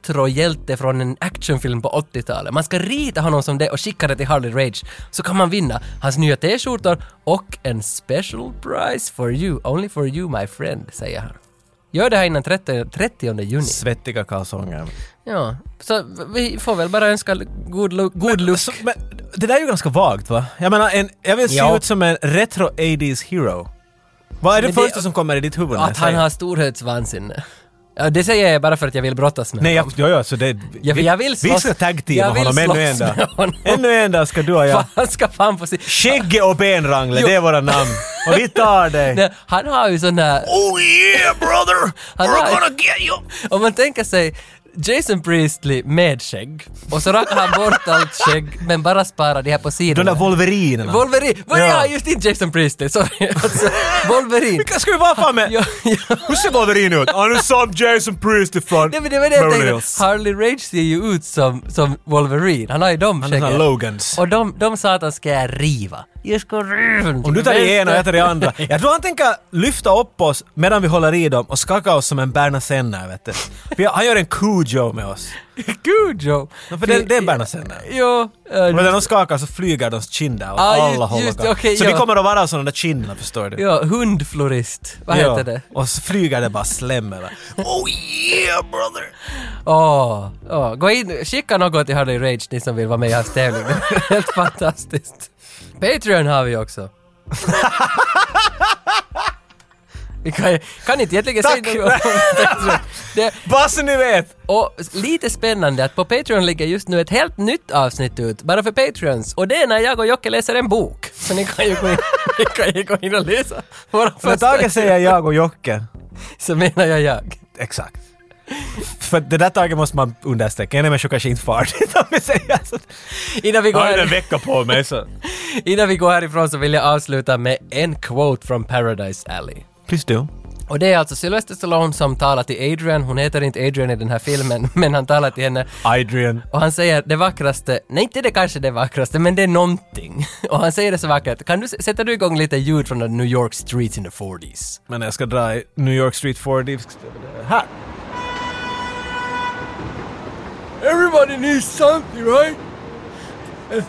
Speaker 1: retrohjälte från en actionfilm på 80-talet. Man ska rita honom som det och skicka det till Harley Rage så kan man vinna hans nya t-skjortor och en special prize for you, only for you my friend, säger han. Gör det här innan 30, 30 juni.
Speaker 2: Svettiga kalsonger.
Speaker 1: Ja, så vi får väl bara önska god, lu- god luck.
Speaker 2: Så, men, det där är ju ganska vagt va? Jag menar, en, jag vill se
Speaker 1: Ja.
Speaker 2: ut som en retro 80s hero. Vad är det,
Speaker 1: Men det-
Speaker 2: första som kommer i ditt huvud? när jag
Speaker 1: Att han
Speaker 2: säger-
Speaker 1: har storhetsvansinne. Ja, det säger jag bara för att jag vill brottas med
Speaker 2: Nej,
Speaker 1: honom.
Speaker 2: jag, ja, ja, så det...
Speaker 1: Jag, jag vill slåss.
Speaker 2: Vi ska tag teama
Speaker 1: jag vill
Speaker 2: honom ännu en
Speaker 1: slåss med
Speaker 2: dag.
Speaker 1: honom.
Speaker 2: Ännu en dag ska du och jag...
Speaker 1: Fan, *laughs* Han ska fan få se.
Speaker 2: Skägge och benrangle,
Speaker 1: Jo.
Speaker 2: det är våra namn. Och vi tar dig.
Speaker 1: Nej, Han har ju sån här...
Speaker 5: Oh yeah, brother!
Speaker 1: Han
Speaker 5: We're
Speaker 1: har,
Speaker 5: gonna get you!
Speaker 1: om man tänker sig Jason Priestley med skägg och så rakar han bort allt skägg men bara sparar det här på
Speaker 2: De
Speaker 1: sidorna.
Speaker 2: där wolverinerna.
Speaker 1: Wolverine! Vad är
Speaker 2: Ja.
Speaker 1: ja. just inte Jason Priestley, sorry. *laughs* Alltså, *laughs* Wolverine.
Speaker 2: Vilka ska vi vara fan med?
Speaker 1: Ja, ja.
Speaker 2: Hur ser Wolverine ut? Han är som Jason Priestley från
Speaker 1: Nej men det var det jag
Speaker 2: Beverly
Speaker 1: tänkte.
Speaker 2: Hills.
Speaker 1: Harley Rage ser ju ut som, som Wolverine. Han har ju de
Speaker 2: Han är sån här
Speaker 1: skäggen.
Speaker 2: Logans.
Speaker 1: Och de, de sa att han ska riva. Jag ska riva dem
Speaker 2: Om
Speaker 1: till
Speaker 2: du tar det
Speaker 1: vänster.
Speaker 2: ena och jag tar det
Speaker 1: *laughs*
Speaker 2: andra. Jag tror han tänker lyfta upp oss medan vi håller i dem och skaka oss som en Berna Senna, vet du. Vi- Han gör en Cujo med oss.
Speaker 1: *laughs* Gud Joe!
Speaker 2: No, för det, det är Berna Senna.
Speaker 1: Jo. eh,
Speaker 2: Men när de skakar så flyger deras kinder och
Speaker 1: Ah, ju-
Speaker 2: alla håller
Speaker 1: just det,
Speaker 2: igång.
Speaker 1: okej,
Speaker 2: Så
Speaker 1: ja.
Speaker 2: vi kommer att vara sådana där kinderna, förstår du.
Speaker 1: ja, hundflorist. Vad
Speaker 2: Ja.
Speaker 1: heter det?
Speaker 2: Och så flyger det bara slem över.
Speaker 5: Oh yeah, brother!
Speaker 1: Åh, åh. gå in, skicka något till Harley Rage ni som vill vara med i hans tävling. Det är Helt *laughs* fantastiskt. Patreon har vi
Speaker 2: *laughs*
Speaker 1: också. Vi kan, kan inte egentligen
Speaker 2: Tack!
Speaker 1: säga något om
Speaker 2: *laughs*
Speaker 1: Patreon. Det,
Speaker 2: Bara så ni vet!
Speaker 1: Och lite spännande att på Patreon ligger just nu ett helt nytt avsnitt ut, bara för Patreons. Och det är när jag och Jocke läser en bok. Så ni kan ju gå in, *laughs* ni kan ju gå in och läsa våra
Speaker 2: För
Speaker 1: första...
Speaker 2: Tage säger jag och Jocke.
Speaker 1: Så menar jag jag.
Speaker 2: Exakt. För det där taget måste man understryka. En människa kanske inte far dit *laughs* om vi säger så.
Speaker 1: Innan vi, går
Speaker 2: Jag har ju en
Speaker 1: här,
Speaker 2: vecka på mig så...
Speaker 1: innan vi går härifrån så vill jag avsluta med en quote från Paradise Alley.
Speaker 2: Please do.
Speaker 1: Och det är alltså Sylvester Stallone som talar till Adrian, hon heter inte Adrian i den här filmen, *laughs* men han talar till henne
Speaker 2: Adrian.
Speaker 1: Och han säger det vackraste, nej inte det kanske det vackraste, men det är någonting. *laughs* Och han säger det så vackert. Kan du, sätter du igång lite ljud från the New York streets in the 40s?
Speaker 2: Men jag ska dra i New York Street 40. Här!
Speaker 1: Everybody needs something, right? And-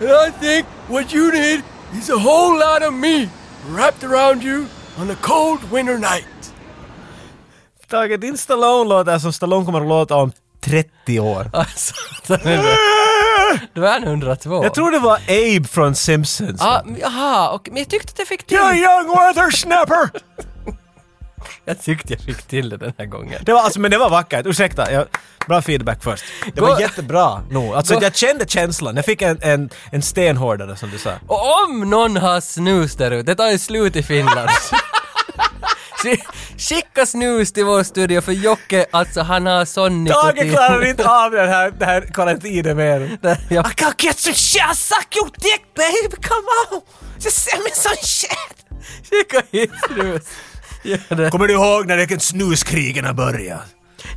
Speaker 1: And I think what you need is a whole lot of me wrapped around you on a cold winter night.
Speaker 2: Tage, din Stallone låter som Stallone kommer att låta om 30 år.
Speaker 1: *laughs* Alltså,
Speaker 2: *laughs*
Speaker 1: då är han 102.
Speaker 2: Jag tror det var Abe från Simpsons.
Speaker 1: Ah, men- Jaha, och- men jag tyckte att jag fick till...
Speaker 2: young weather snapper!
Speaker 1: Jag tyckte jag fick till det den här gången.
Speaker 2: Det var, alltså, men det var vackert, ursäkta. Jag, bra feedback först. Det
Speaker 1: Gå-
Speaker 2: var jättebra nog. Alltså
Speaker 1: Gå-
Speaker 2: jag kände känslan. Jag fick en, en, en stenhårdare som du sa.
Speaker 1: Och om någon har snus där ute, det tar ju slut i
Speaker 2: *laughs*
Speaker 1: Finland. Sk- Skicka snus till vår studio för Jocke, alltså han har sån
Speaker 2: Tage
Speaker 1: nikotin.
Speaker 2: klarar inte av den här, den här karantinen mer. Ah,
Speaker 1: Ja.
Speaker 2: I can't get some shit, I suck your dick baby, come on! Just send me some shit!
Speaker 1: *laughs* Skicka hit
Speaker 2: *laughs*
Speaker 1: snus. Gör det.
Speaker 2: Kommer du ihåg när det snuskrigen började?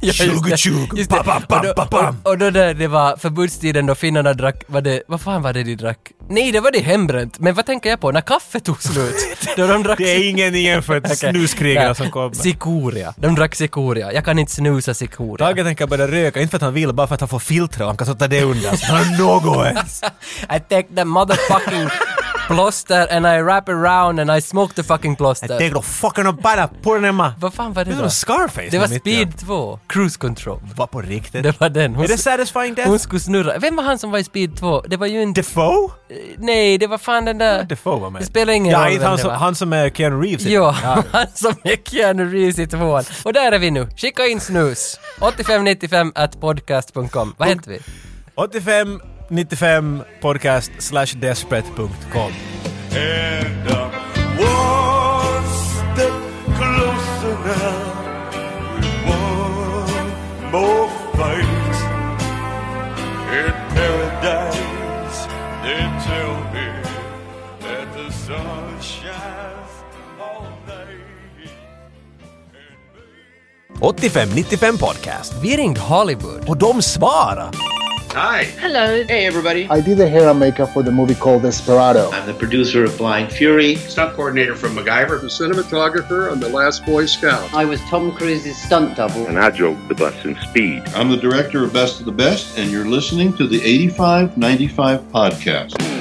Speaker 1: Ja, just det.
Speaker 2: 2020.
Speaker 1: Just det.
Speaker 2: Bam, bam, bam,
Speaker 1: Och då-
Speaker 2: bam, bam.
Speaker 1: Och, och då där, det var förbudstiden då finnarna drack, vad det, vad fan var det de drack? Nej, det var det hembränt. Men vad tänker jag på? När kaffet tog
Speaker 2: *laughs*
Speaker 1: slut. då de drack
Speaker 2: Det är ingenting jämfört med
Speaker 1: *laughs* Okej.
Speaker 2: snuskrigarna
Speaker 1: Nej.
Speaker 2: som kommer.
Speaker 1: Sikoria. De drack Sikoria. Jag kan inte snusa Sikoria.
Speaker 2: Tage tänker börja röka, inte för att han vill, bara för att han får filtra och han kan sätta det
Speaker 1: *laughs*
Speaker 2: under. Så Han har något ens.
Speaker 1: I take the
Speaker 2: *laughs*
Speaker 1: motherfucking plåster and I wrap around and I smoke the fucking
Speaker 2: I
Speaker 1: plåster.
Speaker 2: take the fucking up bara, på den hemma.
Speaker 1: Vad fan var det
Speaker 2: Det
Speaker 1: då?
Speaker 2: var Scarface.
Speaker 1: Det var
Speaker 2: där mitt i.
Speaker 1: Speed 2, Cruise Control.
Speaker 2: Vad på riktigt?
Speaker 1: Det var den. Hon,
Speaker 2: Är det Satisfying Death?
Speaker 1: hon skulle snurra. Vem var han som var i Speed 2? Det var ju inte...
Speaker 2: Defoe?
Speaker 1: Nej, det var fan den där...
Speaker 2: Defoe var med.
Speaker 1: Det spelar ingen
Speaker 2: ja,
Speaker 1: roll
Speaker 2: inte
Speaker 1: vem
Speaker 2: han,
Speaker 1: det
Speaker 2: som,
Speaker 1: var.
Speaker 2: han som är Keanu Reeves. i
Speaker 1: Jo,
Speaker 2: den. Ja.
Speaker 1: *laughs* han som är Keanu Reeves i tvåan. Och där är vi nu. Skicka in snus. 8595 at podcast.com. Vad heter vi?
Speaker 2: 85 95 podcast slash desperate.com.
Speaker 5: And uh, one step closer now with one more fight in paradise. They tell me that the sun shines all night. And
Speaker 2: 85
Speaker 5: maybe
Speaker 2: 95 podcast.
Speaker 1: Vi ringde Hollywood.
Speaker 2: Och de svarar!
Speaker 3: Hi,
Speaker 8: Hello. Hey, everybody.
Speaker 9: I did the hair and makeup for the movie called Desperado.
Speaker 3: I'm the producer of Blind Fury, stunt coordinator for MacGyver, the cinematographer on The Last Boy Scout.
Speaker 8: I was Tom Cruise's stunt double.
Speaker 6: And I drove the bus in speed.
Speaker 10: I'm the director of Best of the Best, and you're listening to the 8595 podcast.